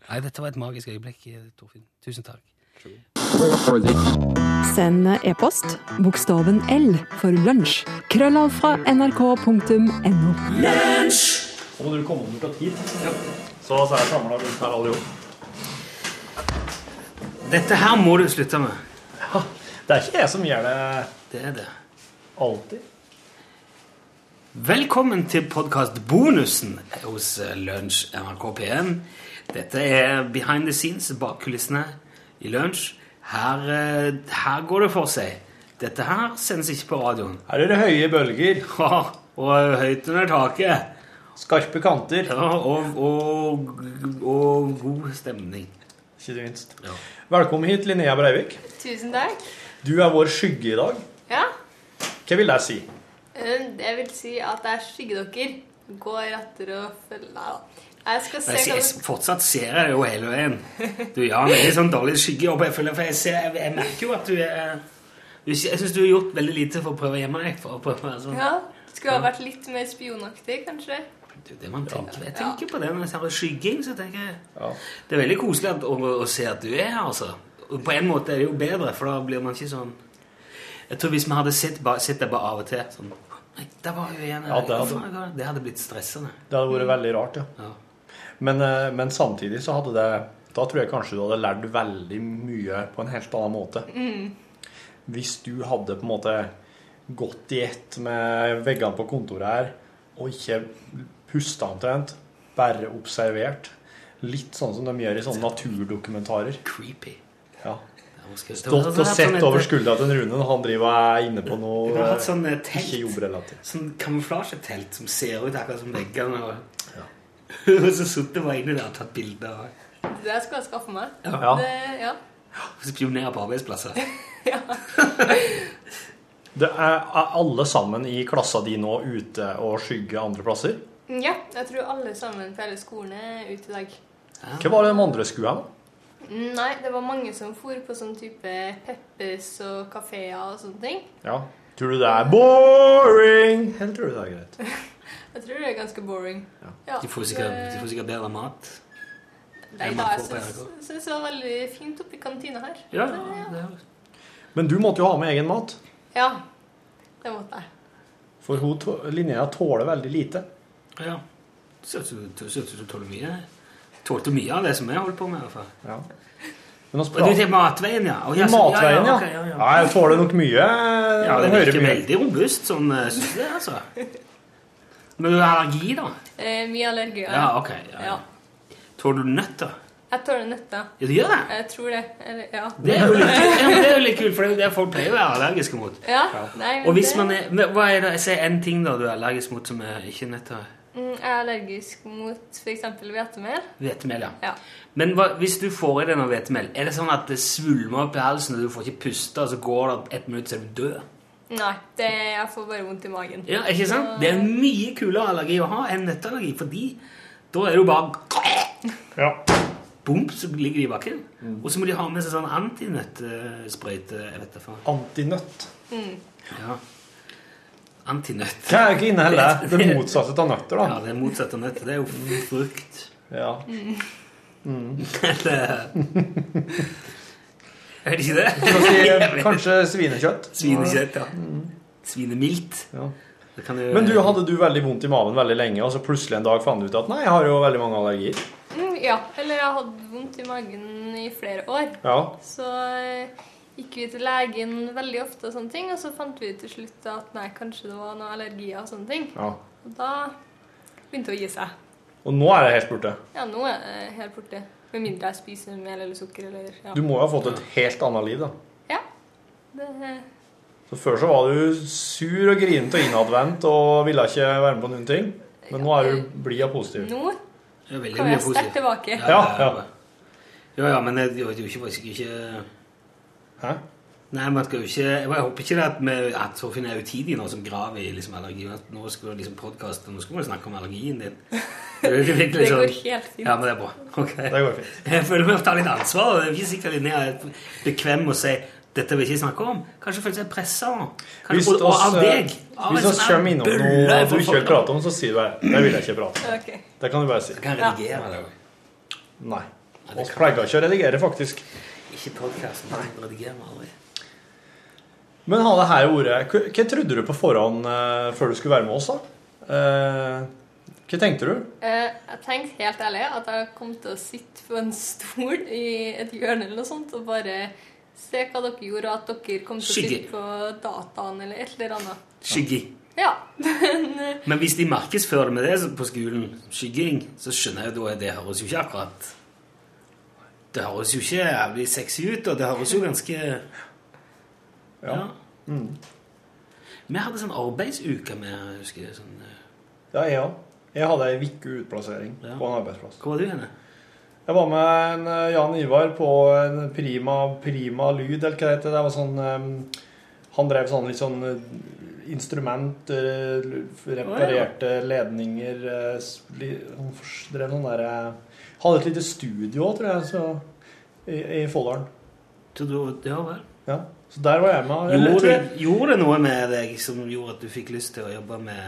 Nei, dette var et magisk øyeblikk, eh, Torfinn. Tusen takk.
Send e-post bokstaven L for lunsj. Krøllav fra nrk.no.
Så må du komme om bort hit. Så, så er jeg samla rundt her alle sammen.
Dette her må du slutte med.
Det er ikke jeg som gjør det.
Det er det.
Alltid.
Velkommen til podkastbonusen hos eh, Lunsj NRK P1. Dette er behind the scenes, bak kulissene i Lunsj. Her, eh, her går det for seg. Dette her sendes ikke på radioen.
Her er det høye bølger.
Ja, og høyt under taket.
Skarpe kanter.
Ja, og, og, og god stemning.
Ikke minst. Velkommen hit, Linnea Breivik.
Tusen takk.
Du er vår skygge i dag.
Ja,
Hva vil jeg si?
eh, jeg vil si at det er skyggedokker. Gå etter og følge Nei da. Jeg skal se
Jeg, ser-
hva
jeg fortsatt ser jeg det jo hele veien. Du gjør en veldig sånn dårlig skyggejobb. Jeg, føler, for jeg, ser, jeg, jeg merker jo at du er du- Jeg syns du har gjort veldig lite for å prøve å gjemme deg. For å prøve å være sånn.
Ja, Skulle ha vært litt mer spionaktig, kanskje.
Det er det man tenker. Jeg tenker på det når jeg ser skygging. så tenker jeg... Det er veldig koselig at, å, å se at du er her, altså. Og på en måte er det jo bedre, for da blir man ikke sånn Jeg tror hvis vi hadde sett, ba, sett det bare av og til sånn Nei, der var hun igjen.
Ja, det hadde-
Faen, hva- det hadde blitt stressende.
Det hadde vært veldig rart, ja. Men, eh, men samtidig så hadde det Da tror jeg kanskje du hadde lært veldig mye på en helt annen måte.
Mm.
Hvis du hadde på en måte gått i ett med veggene på kontoret her, og ikke pusta omtrent, bare observert. Litt sånn som de gjør i sånne naturdokumentarer.
Creepy.
Ja.
Stått
Stått og
sånn
sett over skuldra til en Rune når han driver og er inne på
Du
noe
kunne hatt sånn eh, telt.
ikke jobbrelatert.
Sånn kamuflasjetelt som ser ut akkurat som veggene. Og, og så sittet bare inni der og tatt bilder. og-
Det skal jeg skaffe meg.
Ja.
Det, ja.
Og spionere på arbeidsplasser.
Det er, er alle sammen i klassa di nå ute og skygge andre plasser?
ja, jeg tror alle sammen på hele skolen er ute i dag.
Hva var det de andre skulle ha?
Mm, Nei, det var mange som for på sånn type Peppers og kafeer og sånne ting.
Ja. Tror du det er boring? Eller tror du det er greit?
Jeg tror det er ganske boring. Ja,
De får sikkert,
det-
de får sikkert bedre mat.
Nei
enn
da,
man får
jeg
på NRK.
syns syns det var veldig fint oppe i kantina her.
Ja,
Så, ja.
Men du måtte jo ha med egen mat,
ja. Det måtte jeg.
for hun, tå- Linnea tåler veldig lite.
Ja. Synes du, synes du tåler mye? Tålte mye av det som jeg holdt på med, i hvert fall.
Ja. Men oss
Og du til Matveien, ja. Å, ja, så-
Matveien, ja.
ok, ja, ja.
Nei, jeg tåler nok mye.
Ja, det
hører
virker
mye.
veldig robust, sånn eh, synes jeg, altså. Men du har allergi, da?
Eh, mye allergier.
Ja, ok, ja, ja. Tåler du nøtter?
Jeg tåler nøtter.
Ja, du gjør det?
Jeg tror det. Eller, ja.
Det er jo litt, ja, men det er jo litt kult, for det er jo det folk pleier å være allergiske mot.
Ja, nei, men
Og hvis
det-
man er, men hva er det, Si én ting da du er allergisk mot som er ikke nøtter.
Mm, Jeg er allergisk mot f.eks. hvetemel.
Hvetemel, ja.
Ja.
Men hva, hvis du får i deg noe hvetemel, er det sånn at det svulmer opp i halsen, og du får ikke puste, og så går det et minutt, så er du død?
Nei, det, jeg får bare vondt i magen.
Ja, ikke sant?
Så-
Det er en mye kulere allergi å ha enn nøtteallergi, fordi da er det jo bare Bump, så ligger de i bakken.
Mm.
Og så må de ha med seg sånn antinøttsprøyte. jeg vet da faen.
Antinøtt?
Mm.
Ja. Antinøtt.
Det er jo ikke inneholdet. Det er motsatte av nøtter, da.
Ja, det er motsatt av nøtter. Det er jo frukt.
Ja.
Eller Er det ikke det?
Kanskje- eh, Kanskje svinekjøtt. Mm.
Svinekjøtt, ja. Svinemilt. Det kan jo
Men du, hadde du veldig vondt i maven veldig lenge, og så plutselig en dag fant du ut at nei, jeg har jo veldig mange allergier?
Mm, ja, eller jeg hadde vondt i magen i flere år.
Ja.
Så eh, gikk vi til legen veldig ofte og sånne ting, og så fant vi til slutt at nei, kanskje det var noe allergier og sånne ting.
ja.
Og da begynte det å gi seg.
Og nå er det helt borte.
Ja, nå er det helt borte. Med mindre jeg spiser mel eller sukker eller ja.
Du må jo ha fått et helt annet liv, da.
Ja. Det, eh,
Så Før så var du sur og grinete og innadvendt og ville ikke være med på noen ting. Men nå er du blid og positiv.
Eh, nå
Det er veldig
kommer
mye
jeg sterkt
positivt.
tilbake.
Ja, ja.
Ja, ja, men det det er jo ikke faktisk ikke
Hæ?
Nei, man skal jo ikke Jeg håper ikke det at, vi, at Torfinn er utidig nå som graver i liksom allergi. At nå skal liksom podcasten, nå skal vi snakke om allergien din. Det, er jo ikke virkelig
Det går
sånn-
helt fint.
Ja, men det er bra. Ok.
Det går fint.
Jeg føler vi må ta litt ansvar. og Det er ikke sikkert Linnea er bekvem med å si dette vil jeg ikke snakke om. Kanskje føler seg pressa nå. Kanskje-
Hvis
og, og av
oss, eh,
deg. Av en
hvis oss
sånn her
kommer innom noe
bølle
du
for
ikke vil
folk.
prate om, så sier du bare 'Det vil jeg ikke prate om'.
Ok.
Det kan du bare si.
Kan redigere det også.
Nei. Vi pleier ikke å redigere, faktisk.
Ikke podkasten. Redigerer vi aldri.
Men ha det her ordet. Hva hva trodde du på forhånd eh, før du skulle være med oss, da? Eh, hva tenkte du?
Eh, jeg tenkte helt ærlig at jeg kom til å sitte på en stol i et hjørne eller noe sånt og bare se hva dere gjorde, og at dere kom til å
Skygge.
sitte på dataen eller et eller annet.
Skyggi.
Ja, men eh,
Men hvis de markedsfører med det på skolen, skygging, så skjønner jeg jo da at det høres jo ikke akkurat Det høres jo ikke jævlig sexy ut, og det høres jo ganske Ja. Vi hadde sånn arbeidsuke med, jeg husker jeg. Sånn, eh,
Ja, jeg òg. Jeg hadde ei uke utplassering på en arbeidsplass.
Hvor var du henne?
Jeg var med en eh, Jan Ivar på en prima, prima lyd, eller hva det heter. Det var sånn eh, Han drev sånn litt sånn eh, instrument, eh, l- reparerte ledninger eh, s- li- Han fors- drev sånn derre Hadde et lite studio òg, tror jeg, så, i, i Folldalen.
Ja vel.
Ja. Så der var jeg med. Eller,
Gjorde,
tror jeg,
gjorde det noe med deg som gjorde at du fikk lyst til å jobbe med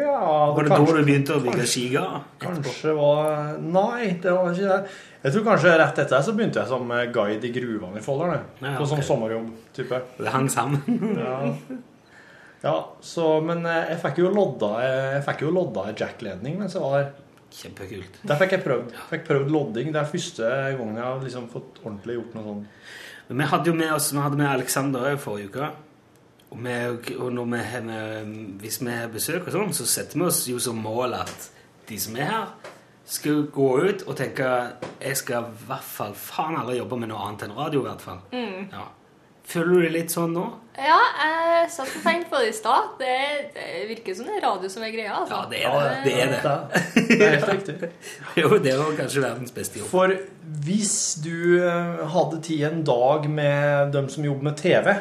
ja,
Var det da du begynte å bygge skiga?
Kanskje var Nei, det var ikke det. Jeg tror kanskje rett etter det så begynte jeg som eh, guide i gruvene i Folldal. jeg.
Ja,
På sånn
ok.
sommerjobb. type.
Det hang sammen.
ja. ja, så, Men eh, jeg fikk jo lodda eh, Jeg fikk jo lodda ei jackledning mens jeg var der.
Kjempekult.
Der fikk jeg prøvd, fikk prøvd lodding. Det er første gangen jeg har liksom fått ordentlig gjort noe sånn.
Men Vi hadde jo med oss vi hadde med Alexander også forrige uke. Og, vi, og når vi, har- vi, hvis vi har besøk og sånn, så setter vi oss jo som mål at de som er her, skal gå ut og tenke jeg skal i hvert fall faen aldri jobbe med noe annet enn radio. i hvert fall.
mm.
Ja. Føler du det litt sånn nå?
Ja, jeg satt og tenkte på det i stad. Det, det virker som det er radio som er greia. Altså.
det er det. Det er det.
Det er helt riktig.
Jo, det var kanskje verdens beste jobb.
For hvis du eh, hadde tid en dag med dem som jobber med TV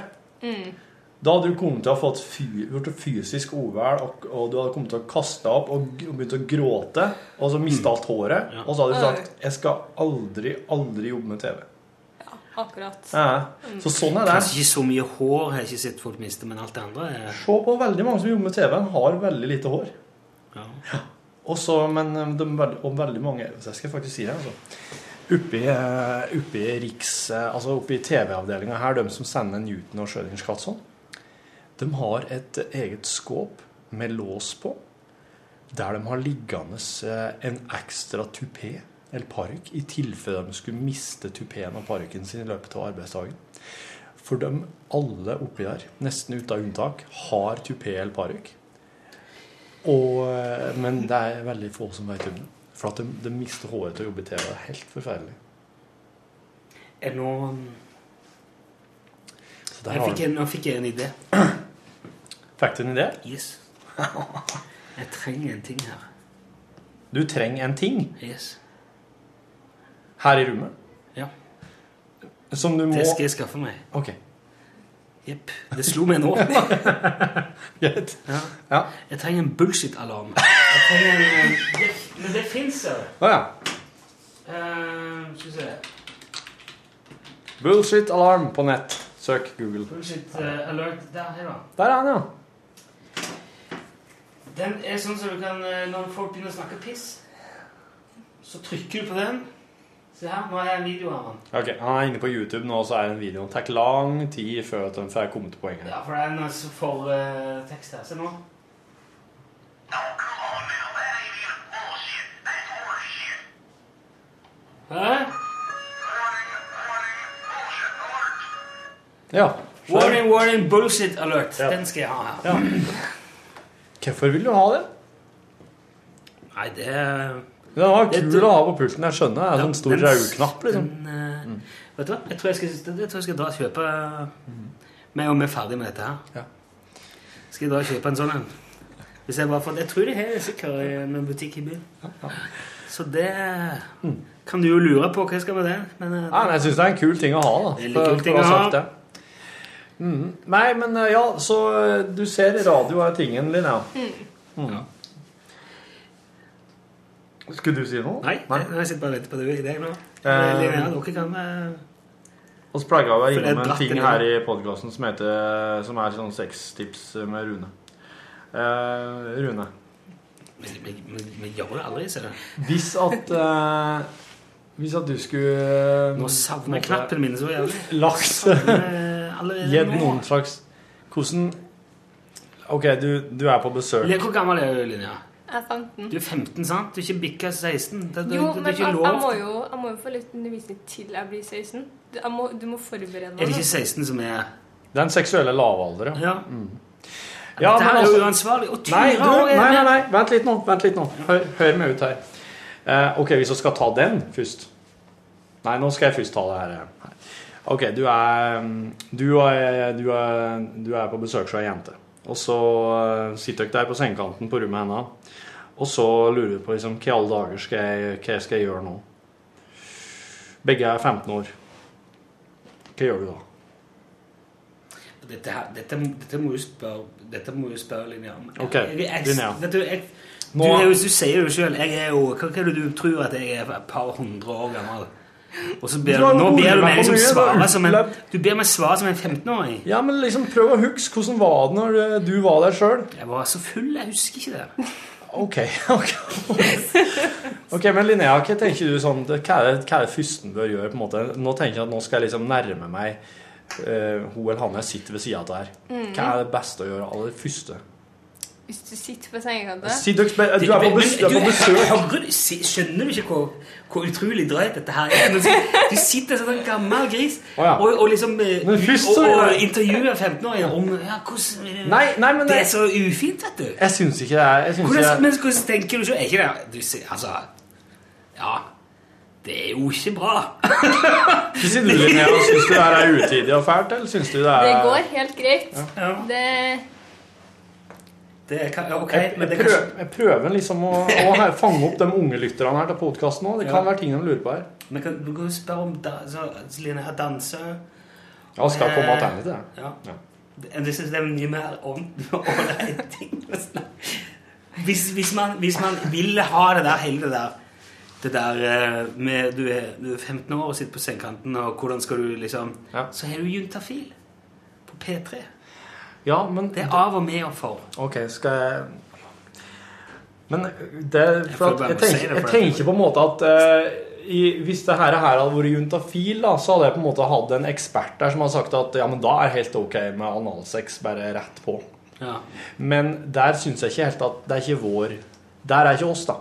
Mm.
Da hadde du kommet til å ha fått fy, gjort et fysisk uvel, og, og du hadde kommet til å kaste deg opp og, g- og begynt å gråte, og så miste alt håret, og så hadde du sagt 'Jeg skal aldri, aldri jobbe med TV'.
Akkurat.
Eh, Så sånn er det.
Kanskje ikke så mye hår har jeg ikke sett folk miste, men alt det andre er
Se på veldig mange som jobber med TV, har veldig lite hår.
Ja.
Og så, men eh, de, veld- og veldig mange så Jeg skal faktisk si det, altså. Oppi, eh, oppi Riks... eh, Altså oppi TV-avdelinga her, de som sender Newton og Schrødingers katt sånn, de har et eget skåp med lås på, der de har liggende eh, en ekstra tupé eller parykk i tilfelle de skulle miste tupeen og parykken sin i løpet av arbeidsdagen. For de alle oppi der, nesten uten unntak, har tupé eller parykk. Og, eh, Men det er veldig få som vet om det. For at de, de mister håret til å jobbe i TV. Det er helt forferdelig.
Er nå
Så der
jeg
har
fikk,
du-
en, nå fikk jeg en idé.
Fikk du en idé?
Yes. jeg trenger en ting her.
Du trenger en ting
Yes.
her i rommet.
Ja.
Som du må
Det skal jeg skaffe meg.
Ok.
Jepp. Det slo meg nå.
Greit.
Ja.
Ja.
Jeg trenger en bullshit-alarm. Jeg trenger en det, Men det fins, ja.
Å ja.
Eh, Skal vi se
Bullshit alarm på nett. Søk Google.
Bullshit eh, alert. Der er den.
Der er han, ja.
Den er sånn som du kan eh, Når folk begynner å snakke piss, så trykker du på den. Se her, nå har jeg en video av den.
Ok, Han er inne på YouTube nå, så er den videoen. Det tar lang tid før at de får komme til poenget.
Ja, for det er en som får eh, tekst her. Se nå. Hæ?
Ja.
Warning, warning, bullshit alert. Den skal jeg ha her.
Hvorfor vil du ha den?
Nei, det er
Den var kul å ha på pulten. Jeg skjønner. Det er sånn stor
den-
raudknapp, liksom.
den, eh, Vet du hva? Jeg tror jeg skal, det- jeg tror jeg skal dra og kjøpe Med om vi er ferdig med dette her. Skal jeg dra og kjøpe en sånn en? Hvis jeg bare får Jeg tror de har sikkert i en butikk i byen. Så det kan du jo lure på. Hva jeg skal med det? Men, eh,
Nei, men jeg syns det er en kul ting å ha, da.
Veldig
For-
kul
for
ting
å ha
å ha.
sagt det. Mhm. Nei, men eh, ja, så eh, du ser radio er tingen din, ja. Mhm. Skulle du si noe?
Nei, jeg sitter bare og venter på det i dag nå.
Eh,
Eller, ja, dere kan eh,
Og så pleier jeg å være
For det er
innom en
bratt,
ting
eller?
her i podkasten som, heter- som er sånn sextips med Rune. Eh, Rune,
Vi- Vi vi- vi gjør det aldri, ser du.
hvis at eh, Hvis at du skulle eh,
Nå savner jeg knappen min så jævlig.
Lagt
Savner eh, allerede
Gitt
nå.
noen slags Hvordan OK, du, du er på besøk.
Hvor gammel er du, Linja?
Jeg fant den.
Du er 15, sant? Du er ikke bikka 16. Det, det,
Jo,
det,
men
det er ikke
jeg,
lov.
jeg, må jo, jeg må jo få litt undervisning til jeg blir 16. Du, jeg må, du må forberede meg.
Er det ikke
da.
16 som er
Den seksuelle lavalderen.
Ja.
Mm.
Ja,
men
Dette her er
altså-
jo uansvarlig. Og
Nei,
Tyra
du,
også
nei,
er
nei,
med.
nei, vent litt nå. Vent litt nå. Hør, hør meg ut her. Eh, ok, hvis vi skal ta den først Nei, nå skal jeg først ta det her. eh. Ok, du er mm, Du er, du er, du er på besøk hos ei jente. Og så eh, sitter dere der på sengekanten på rommet hennes. Og så lurer du på liksom, hva i alle dager skal jeg, hva skal jeg gjøre nå? Begge er 15 år. Hva gjør du da?
Dette, her, dette, dette må jo spørre Dette må jo spørre Linnea om.
Ok,
Jeg- jeg-
Linnea.
Vet du, jeg, du,
Nå-
er jo, du sier jo sjøl Jeg er jo Hva hva er det du tror at jeg er et par hundre år gammel? Og så ber
Du har
du, nå
rolig
ber du
meg
meg
på
liksom
mye, da.
svare som en Du ber meg svare som en 15-åring.
Ja, men liksom prøv å huske hvordan var det når eh, du var der sjøl.
Jeg var så full, jeg husker ikke det.
Ok, ok. Ok, men Linnea, hva tenker du sånn, hva er det, hva er det førsten bør gjøre? på en måte? Nå tenker jeg at nå skal jeg liksom nærme meg eh, hun eller han jeg sitter ved siden av der.
Mm.
Hva er det beste å gjøre aller første?
Hvis du sitter på sengekanten
Si dere, spe- du er på, bes, du er på besøk.
Hører du- se- Skjønner du ikke hvor, hvor utrolig drøyt dette her er? Men så- Du sitter som en gammel gris
Å ja.
og, og liksom eh,
Men først
og,
så-
og intervjuer 15-åringer om ja, hvordan er det-
Nei, nei, men
Det
jeg-
er så ufint, vet du.
Jeg syns ikke det er jeg synes
Hvordan,
ikke det
men hvordan tenker du så? Er ikke det du, sier- Altså Ja, det er jo ikke bra.
er- Hva sier du, Linnea? Syns du det her er utidig og fælt, eller syns du det er
Det
Eh,
går helt greit. Det,
Det kan, ok,
Jeg,
men det
jeg,
kan-
prøver, jeg prøver liksom å, å her- fange opp de unge lytterne her til podkasten nå. Det
Ja.
kan være ting de lurer på her.
Men kan, du kan jo spørre om da, så, Celine har danset.
Ja, skal jeg komme
Eh,
tilbake til det?
Ja. Jeg synes det er mye mer om- ålreit ting å snakke hvis, hvis, man, hvis man vil ha det der, hele det der det der eh, med du er, du er 15 år og sitter på sengekanten, og hvordan skal du liksom Så har du juntafil på P3.
Ja, men
Det er av og med og for.
Ok, skal jeg Men det er for
får
at,
bare
jeg,
må si
tenker,
det, for
jeg
at-
tenker på en måte at eh, i, hvis det her her hadde vært juntafil, da, så hadde jeg på en måte hatt en ekspert der som hadde sagt at ja, men da er helt ok med analsex, bare rett på.
Ja.
Men der syns jeg ikke helt at det er ikke vår Der er ikke oss, da.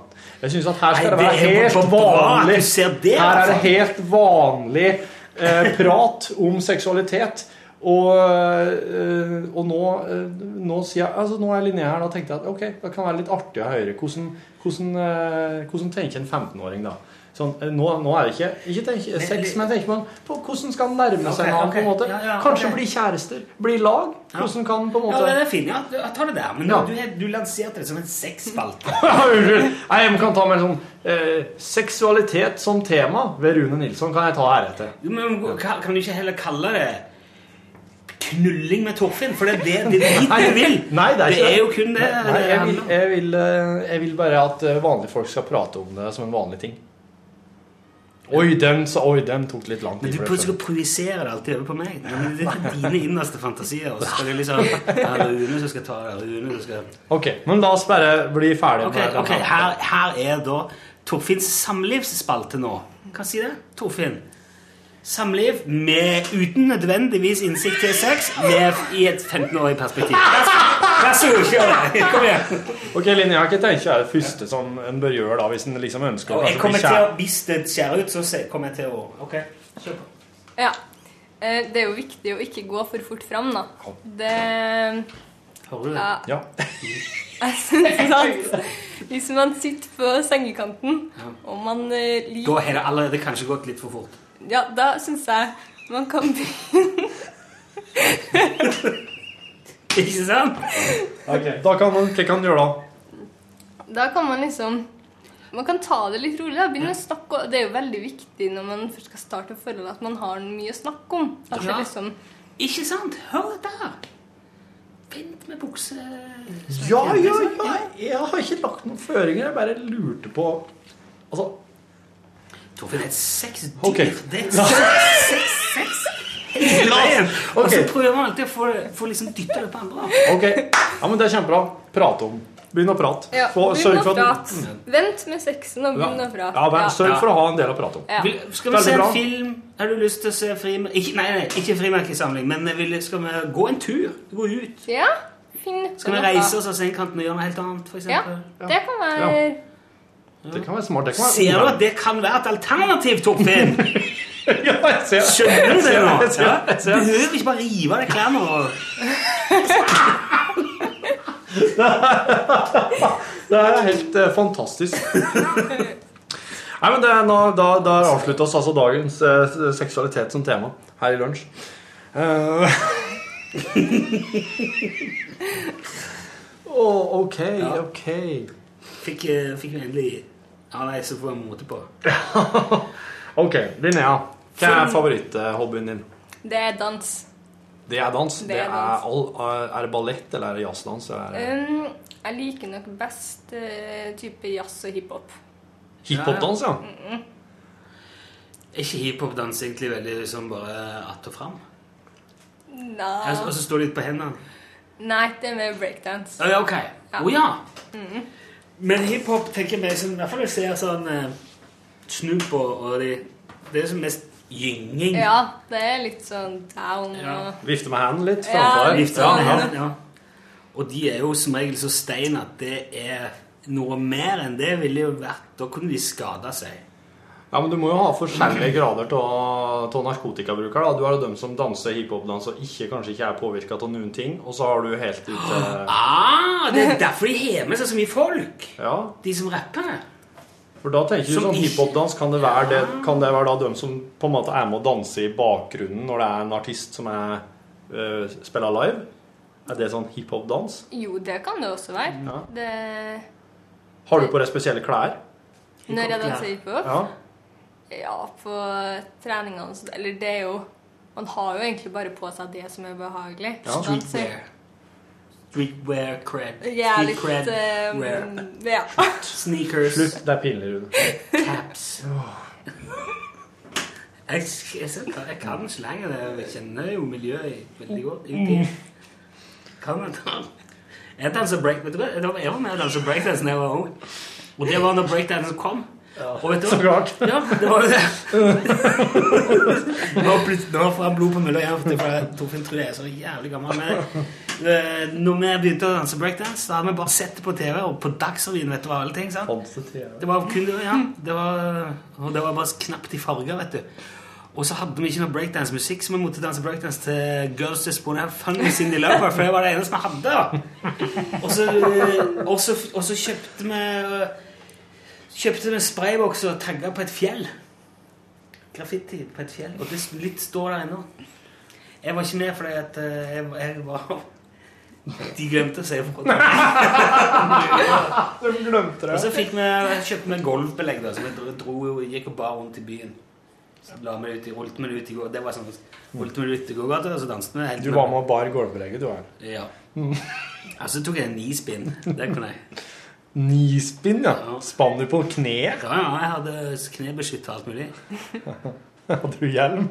Jeg synes at her skal
Nei,
det
det er
være
jo
helt
bra at
vanlig.
du ser det,
her er det
altså.
helt vanlig eh, prat om seksualitet. Og, eh, og nå, eh, nå, sier jeg, altså, nå er Linnea her, da tenkte jeg at ok, det kan være litt artig å høre. Hvordan, hvordan, eh, hvordan tenker en 15-åring da? Sånn, eh, nå, nå er det ikke, ikke tenk- sex, men tenker man på hvordan skal han nærme seg
Ok,
en annen
ok.
på en måte?
Ja, ja,
Kanskje
ok.
bli kjærester, bli lag? Hvordan kan på en måte
Ja, den er fin. Ja, Du- jeg tar det der. Men
Ja.
du, du lanserte det som en sexspalte.
Unnskyld. Nei, jeg kan ta mer sånn eh, Seksualitet som tema ved Rune Nilsson kan jeg ta heretter.
Jo, Men hva- kan du ikke heller kalle det knulling med Torfinn? For det er det, det, er dit
Nei,
du vil.
Nei, det er ikke
jo kun det.
Nei, jeg, vil,
handler om.
jeg, vil, eh, jeg vil bare at eh, vanlige folk skal prate om det som en vanlig ting. Oi, den, sa- oi, den tok litt lang
Men du
tid. for det,
plutselig projiserer det alltid over på meg. Men Det er dine innerste fantasier. Og så skal det liksom ja, det er Rune som skal ta det. Rune som skal...
skjønner jeg. Ok, men la oss bare bli ferdig
Ok,
med den
ok, her, her er da Torfinns samlivsspalte nå. Hva sier det? Torfinn. Samliv med, uten nødvendigvis innsikt til sex med, i et 15-årig perspektiv. Vær så- Vær så god, kjør det. Kom igjen.
Ok, Linnea, hva tenker jeg er det første som en bør gjøre da, hvis en liksom ønsker å
Og jeg
kanskje
kommer
bli
til
kjær?
å, Hvis det skjærer ut, så se- kommer jeg til å Ok, kjør på.
Ja. Eh, Det er jo viktig å ikke gå for fort fram, da. Det
Hører du
Ja.
det? Ja.
Jeg synes at hvis man sitter på sengekanten, og man eh,
Da
liker
har det allerede kanskje gått litt for fort.
Ja, da syns jeg man kan begynne
Ikke sant?
Ok, Da kan man, hva kan man gjøre da?
Da kan man liksom Man kan ta det litt rolig. da. Begynne å snakke og Det er jo veldig viktig når man først skal starte et forhold, at man har mye å snakke om. At det
Ja.
liksom
Ikke sant? Hør dette her. Vent med bukse...
Ja, ja, ja. Jeg har ikke lagt noen føringer. Jeg bare lurte på Altså
Torfinn, det er et sexdyr.
Ok.
Det er et
Ja.
sex, sex, sex. Hele veien. Og så
Ok.
prøver man alltid å få, få liksom dytte det på andre.
Ok. Ja, men det er kjempebra. Prate om. Begynn å prate.
Ja,
Få-
begynn å
for at- Mm.
prate. Vent med sexen og begynn å prate.
Ja, men sørg for å ha en del å prate om.
Ja.
Vil, skal vi
Veldig
se en
bra.
film? Har du lyst til å se frimerke... Ikke, nei, nei, ikke frimerkesamling, men vil, skal vi gå en tur? Gå ut?
Ja, finn på
Skal vi
noe.
reise oss av sengekanten og gjøre noe helt annet, for
Ja,
eksempel?
det kan være
Det kan være smart. Det kan være
Ser du at det kan være et alternativ, Torfinn?
ser.
Skjønner du det nå?
Jeg ser,
Ja?
jeg ser.
Behøver ikke bare rive av deg klærne og
Det er helt eh, fantastisk. Nei, men det, er nå, da, da avslutter oss altså dagens eh, seksualitet som tema her i lunsj. Eh, Å, ok, ok.
Fikk, eh, fikk vi endelig Ja, nei, så får jeg mote på.
ok, Linnea, hva er favoritthobbyen din?
Det er dans.
Det er dans.
Det
Det
er
er,
dans.
all, eh, er det ballett eller er det jazzdans? eller Er det
Um, jeg liker nok best eh, type jazz og hiphop.
hiphopdans, ja?
Mm -mm.
Er ikke hiphopdans egentlig veldig sånn bare att og fram?
Nei.
Og så står de litt på hendene.
Nei, det er mer breakdance.
Å ja, ok. Å ja.
Mm.
Men hiphop tenker jeg meg sånn, I hvert fall jeg ser sånn eh, Snoop og, og de Det er som mest gynging.
Ja, det er litt sånn down og
Vifte med hendene litt
Ja,
framfor
litt
Vifte med
sånn.
hendene.
Ja. Og de er jo som regel så stein at det er noe mer enn det ville jo vært Da kunne de skada seg.
Ja, men Du må jo ha forskjellige grader av narkotikabruker. da. Du har jo dem som danser hiphopdans og ikke, kanskje ikke er påvirka av noen ting. Og så har du helt ut eh, til
Ah, det er derfor de har med seg så mye folk,
ja,
de som rapper.
For da tenker du
Som Ah.
sånn hiphopdans, kan det være, det, kan det være da dem som på en måte er med å danse i bakgrunnen når det er en artist som er, øh, spiller live? Er det sånn hiphopdans?
Jo, det kan det også være.
Ja.
Det,
Har du på deg spesielle klær?
når jeg danser hiphop
Ja.
Ja, på treningene og sånt. Eller det er jo Man har jo egentlig bare på seg det som er behagelig.
Ja.
Man ser-
Streetwear. Streetwear cred.
Ja,
Street
eh, litt
cred
um,
wear.
Ja.
Sneakers.
Slutt, det er pinlig, Rune.
Caps. Jeg, jeg, ser- jeg kan slenge det. Jeg kjenner jo miljøet veldig godt. Uti. Kan man ta Jeg danser break, vet du hva? Jeg var med og danset breakdance da jeg var ung. Og det var når breakdansen kom. Og vet du, hva?
Så klart.
Ja, det var jo det. nå, plut- nå får jeg blod på mulla igjen, for jeg- Torfinn tror jeg er så jævlig gammel. Men eh, når vi begynte å danse breakdance, da hadde vi bare sett det på TV, og på Dagsrevyen, vet du hva, alle ting, sant? Det var kun det, ja. Det var, og det var bare knapt i farger, vet du. Og så hadde vi ikke noe breakdance-musikk, så vi måtte danse breakdance til Girls Just Wanna Have Fun med Cindy Lauper, for det var det eneste vi hadde. da. Og så, eh, og så, og så kjøpte vi eh, Kjøpte vi sprayboks og tagga på et fjell. Graffiti på et fjell. Og det s- litt står der ennå. Jeg var ikke med fordi at eh, jeg, jeg var De glemte å si ifra.
De glemte det.
Og så fikk vi, kjøpte vi golvbelegg, da, så vi dro, dro, jo- gikk og bar rundt i byen. Så la vi det ut i, rullet vi det ut i går, det var sånn, rullet vi det ut i gågata, og så danset vi. helt
Du
med-
var Mm. med og bar gulvbelegget, du her.
Ja. Og så tok jeg ni spinn. Det kunne jeg.
Nispinn, ja. Spann du på kneet?
Ja, ja, jeg hadde knebeskytter og alt mulig.
Hadde du hjelm?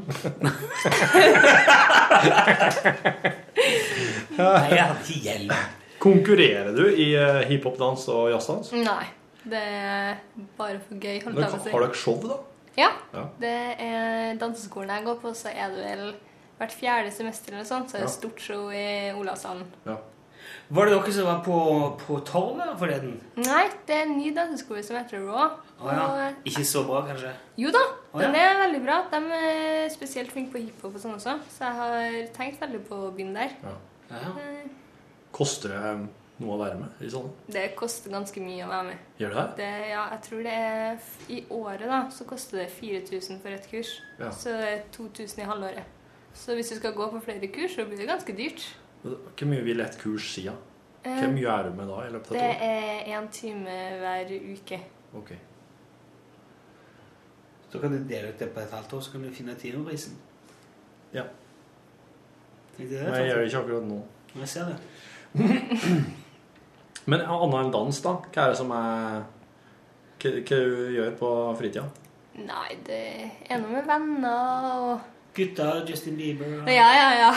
Nei, jeg hadde ikke hjelm.
Konkurrerer du i eh, hiphop-dans og jazzdans?
Nei. Det er bare for gøy, holdt jeg
Dere-
på å si.
Har dere show, da?
Ja.
Ja.
Det er danseskolen jeg går på, så er det vel hvert fjerde semester eller sånt, så er det
Ja.
stort show i Olavshallen.
Var det dere som var på, på torvet forleden?
Nei, det er en ny danseskole som heter Raw.
Å ja.
Og-
Ikke så bra, kanskje?
Jo da,
Å,
den
ja.
er veldig bra. De er spesielt flinke på hiphop og sånn også, så jeg har tenkt veldig på å begynne der. Eh,
Koster det eh, noe å være med i sånn? sånne?
Det koster ganske mye å være med.
Gjør det?
det ja, jeg tror det er f- I året da, så koster det 4000 for et kurs.
Ja.
Så det er 2000 i halvåret. Så hvis du skal gå på flere kurs, så blir det ganske dyrt.
Hvor mye vil et kurs si? da?
Eh,
Hvor mye er du med da? i løpet av
Det
et år?
er én time hver uke.
Ok.
Så kan du dele ut det på et halvt år, så kan du finne timeprisen.
Ja.
Tenkte jeg det?
Nei, jeg gjør det ikke akkurat nå.
Jeg ser det.
Men annet enn dans, da? Hva er det som er Hva, hva du gjør på fritida?
Nei, det er noe med venner og
Gutta, Justin Bieber og-
Ja, ja, ja.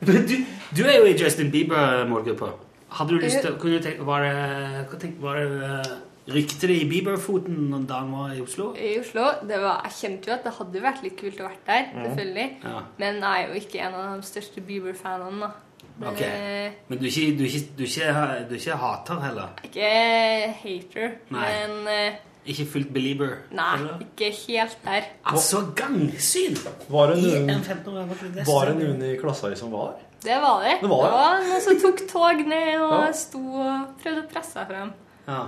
Men du, du er jo i Justin Bieber-målgruppa. Hadde du lyst til kunne du tenke, Var det, hva tenk- var det eh, Rykte det i Bieber-foten da han var i Oslo?
I Oslo det var, Jeg kjente jo at det hadde vært litt kult å være der,
Mhm.
selvfølgelig.
Ja.
Men jeg er jo ikke en av de største Bieber-fanene, da. Men
Ok.
eh,
Men du er ikke, du er ikke, du er ikke, du er ikke hater heller?
Ikke hater,
Nei.
men eh,
Ikke fullt belieber?
Nei, ikke helt der.
Altså, gangsyn!
Var det
I
noen-
en 15 år gammel dress.
Var det noen i klassa di som var?
Det var det.
Det var det.
noen som tok tog ned og
Ja.
sto og prøvde å presse seg frem.
Ja.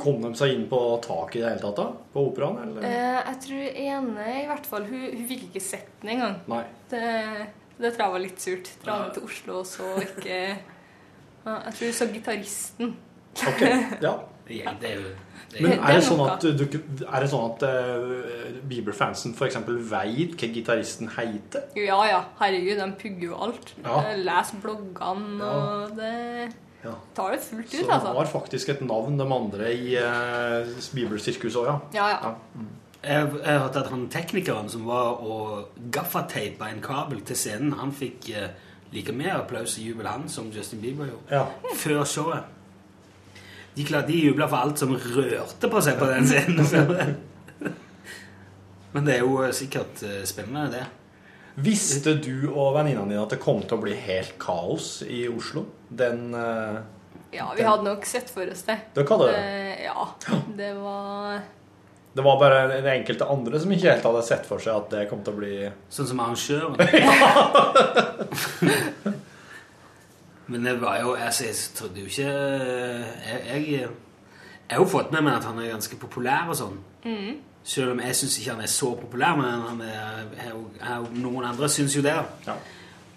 Kom de seg inn på taket i det hele tatt? da? På operaen? eller?
Eh, jeg tror ene i hvert fall Hun, hun fikk ikke sett den engang.
Nei.
Det, det tror jeg var litt surt. Dra med til Oslo og så ikke ja, Jeg tror hun så gitaristen.
Ok, ja.
Ja, det er jo det
Men er det sånn
noe.
at, du, er det sånn at eh, Bieber-fansen f.eks. veit hva gitaristen heter?
Ja ja, herregud, de pugger jo alt.
Ja.
Eh, Les bloggene og det
Ja.
Tar det fullt
Så
ut,
det
altså.
var faktisk et navn, de andre i eh, Bieber-sirkuset òg, ja.
Ja, ja.
Jeg, jeg hørte at han teknikeren som var og gaffateipa en kabel til scenen, han fikk eh, like mer applaus og jubel han som Justin Bieber gjorde. Før showet. De, klarte- de jubla for alt som rørte på seg på den scenen. så- Men det er jo eh, sikkert eh, spennende, det.
Visste du og venninna dine at det kom til å bli helt kaos i Oslo? Den eh,
Ja, vi hadde nok sett for oss det.
Dere hadde det?
Eh, Ja. Det var
Det var bare den enkelte andre som ikke helt hadde sett for seg at det kom til å bli
Sånn som arrangøren? Men det var jo altså, Jeg trodde jo ikke Jeg, jeg, jeg har jo fått med meg at han er ganske populær og sånn.
mm.
Selv om jeg syns ikke han er så populær, men han er, er, jo- er, jo- noen andre syns jo det.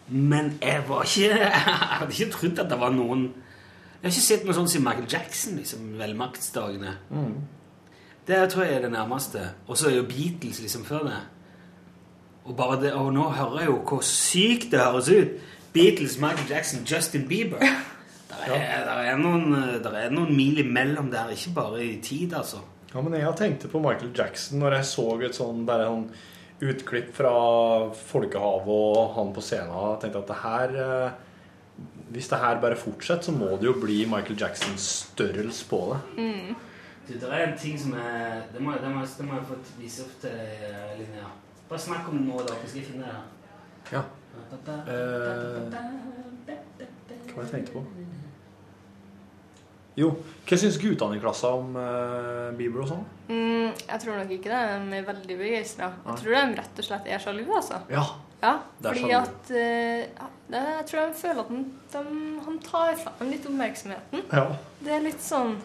Men jeg var ikke Jeg hadde ikke trodd at det var noen Jeg har ikke sett noe sånt siden Michael Jackson, liksom, velmaktsdagene. Det tror jeg er det nærmeste. Og så er jo Beatles liksom før det. Og, bare det, og nå hører jeg jo hvor sykt det høres ut. Beatles, Michael Jackson, Justin Bieber. Der er, der er, noen, eh, der er noen mil imellom der, ikke bare i tid, altså.
Ja, men jeg tenkte på Michael Jackson når jeg så et sånn bare sånn utklipp fra Folkehavet og han på scenen. Jeg tenkte at det her eh, Hvis det her bare fortsetter, så må det jo bli Michael Jacksons størrelse på det.
mm.
Du, det er en ting som er Det må, det må, det må jeg få vise opp til eh, Linnea. Bare snakk om det nå, da, så skal jeg finne det.
Ja.
Eh,
Hva jeg tenkte på? Jo, hva syns guttene i klassa om eh, Bieber og sånn?
Mm, jeg tror nok ikke det. De er veldig begeistra.
Nei.
Jeg tror de rett og slett er sjalu, altså.
Ja.
Ja,
Det er
fordi
sjalu.
at eh, ja, det, Jeg tror de føler at den- de, han tar fra dem litt oppmerksomheten.
Ja.
Det er litt sånn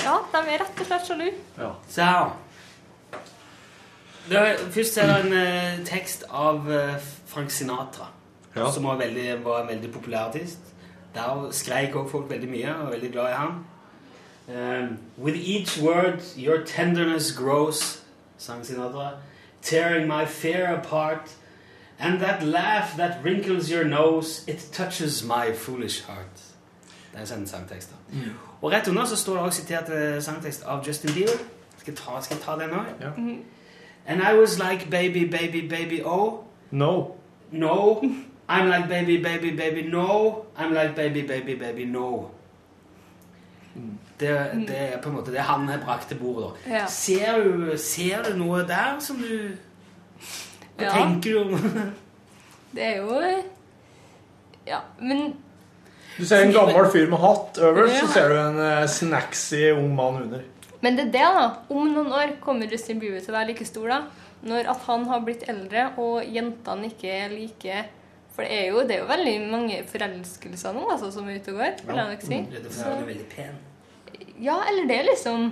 Ja, de er rett og slett sjalu.
ja.
Se her, da. Det er- Først er det en eh, tekst av eh, Frank Sinatra,
Ja.
som var, veldig, var en veldig populær artist. Der skreik også folk veldig mye og var veldig glad i ham. Um, With each word your tenderness grows, sang Sinatra. Tearing my fear apart. And that laugh that wrinkles your nose, it touches my foolish heart. Det er en sangtekst, da. Mm. Og rett under så står det også sitert eh, sangtekst av Justin Bieber. Skal jeg ta, skal jeg ta den nå?
Mhm.
And I was like baby, baby, baby, oh.
No.
No. I'm like baby, baby, baby, no. I'm like baby, baby, baby, no. Det, det er på en måte det han har brakt til bordet. da.
Mm. Ja.
Ser, du, ser du noe der som du Hva
Ja.
tenker du om?
Det er jo eh, Ja, men
Du ser en gammel fyr med hatt øverst,
Ja.
så ser du en eh, snacksy ung mann under.
Men det er det, da. Om noen år kommer Justin Bieber til å være like stor, da. Når at han har blitt eldre, og jentene ikke er like For det er jo, det er jo veldig mange forelskelser nå altså, som er ute og går, vil jeg nok si.
Det er fordi
Så,
han er veldig pen.
ja, eller det, liksom.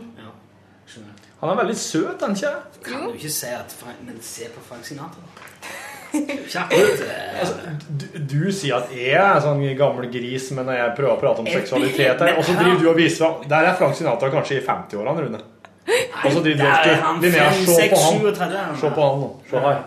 Skjønner du?
Han er veldig søt, er han ikke?
Kan du ikke si at Frank, Men se på Frank Sinatra, da. Ikke akkurat, eh,
Du, Altså, du sier at jeg er en sånn gammel gris, men når jeg prøver å prate om seksualitet her, og så driver du og viser fram Der er Frank Sinatra kanskje i 50-årene, Rune. Og så driver du
der
og
er
skru-
han
Linnea,
fem,
se
seks,
på han.
sju og tredve, han.
Se på han nå. Se her.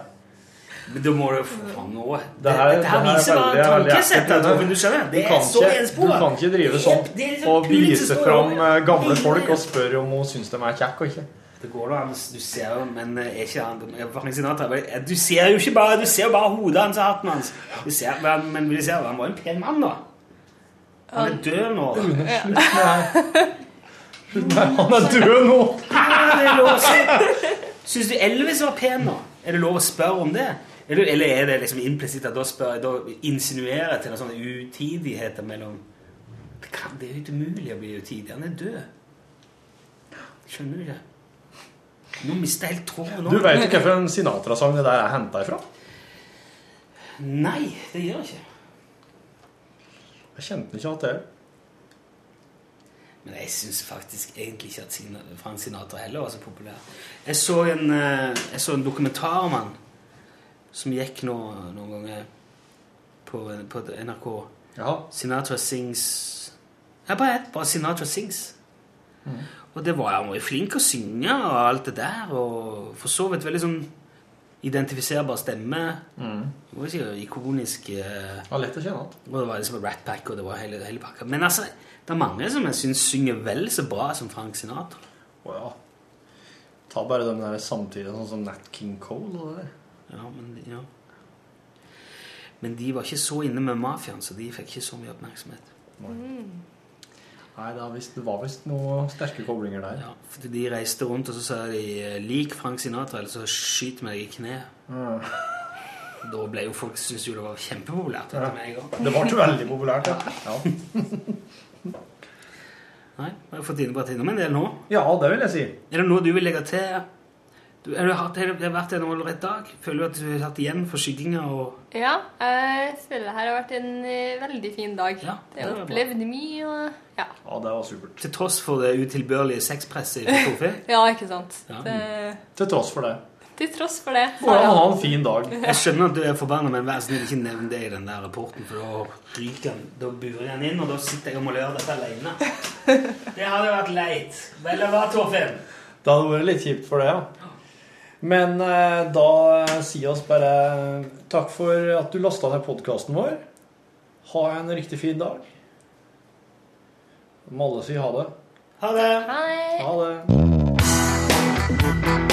Men da må du få fram noe.
Det her, det her er
viser hva
veldig, veldig
tankesettet
ekkelt.
er,
Rune.
Torfinn, du skjønner?
Du
Det er
kan
så
ikke, du
ensporet.
kan ikke drive
Det er
sånn
så
og
pulig
vise
historie.
fram eh, gamle folk og spørre om hun syns de er kjekke og ikke.
Det går da, Anders. du ser jo, men eh, er ikke han eh, Frank Sinatra vel, eh, Du ser jo ikke bare, du ser jo bare hodet hans og hatten hans. Du ser, men, men du ser, jo, han var en pen mann, da. Han er død nå.
Rune, slutt med det her. Slutt med det. Han er død nå!
Ah, det er lov å si. Syns du Elvis var pen, da? Er det lov å spørre om det? Eller, eller er det liksom implisitt at da, spør, da insinuerer jeg til en sånn utidigheter mellom det, kan, det er jo ikke umulig å bli utidig. Han er død. Skjønner du det? Nå mister jeg helt tråden. nå.
Du vet jo hvilken Sinatra-sang det der er henta ifra?
Nei, det gjør jeg ikke.
Jeg kjente den ikke at det.
Men jeg syns faktisk egentlig ikke at Sin- Frank Sinatra heller var så populær. Jeg så en, eh, jeg så en dokumentar om han som gikk nå, noen ganger på, på NRK. Sinatra Sings Ja, bare ett. Bare Sinatra Sings.
Mhm.
Og det var han var jo flink å synge og alt det der, og for så vidt veldig sånn identifiserbar stemme.
Mm.
Det var ikke ikonisk eh,
Ja, lett å kjenne
Og det var liksom Rat Pack og det var hele, hele pakka. Men altså, det er mange som jeg syns synger vel så bra som Frank Sinatra.
Å ja. Ta bare de der samtidig, sånn som Nat King Cole og det der.
Ja, men, de- ja. men de var ikke så inne med mafiaen, så de fikk ikke så mye oppmerksomhet.
Nei, det, er visst, det var visst noen sterke koblinger der.
Fordi de reiste rundt og så sa de eh, 'lik Frank Sinatra, eller så skyt meg i kneet'.
Mm.
Da ble jo folk syntes jo det var kjempepopulært. vet du, med en gang.
Det ble veldig populært, ja. ja.
Nei, vi har fått innbrakt innom en del nå.
Ja, det vil jeg si.
Er det noe du vil legge til? Du, har du hatt, har det vært en ålreit dag? Føler du at du har hatt igjen for skygginga? Og...
Ja, jeg føler det her har vært en eh, veldig fin dag.
det
jeg
var bra.
opplevde mye, og ja.
Ja, det var supert.
Til tross for det utilbørlige sexpresset i Torfinn?
ja, ikke sant.
Ja.
Det,
Til tross for det.
til tross for det.
Går det an å ha en
fin dag.
Jeg skjønner at du er forbanna, men vær så snill, ikke nevn det i den der rapporten, for da ryker han, da burer han inn, og da sitter jeg og må gjøre dette alene. Det hadde vært leit. Vel og bra, Torfinn.
Det hadde vært litt kjipt for det, ja. Men eh, da sier oss bare takk for at du lasta ned podkasten vår. Ha en riktig fin dag. Må alle si ha det.
Ha det.
Ha det.
Ha det.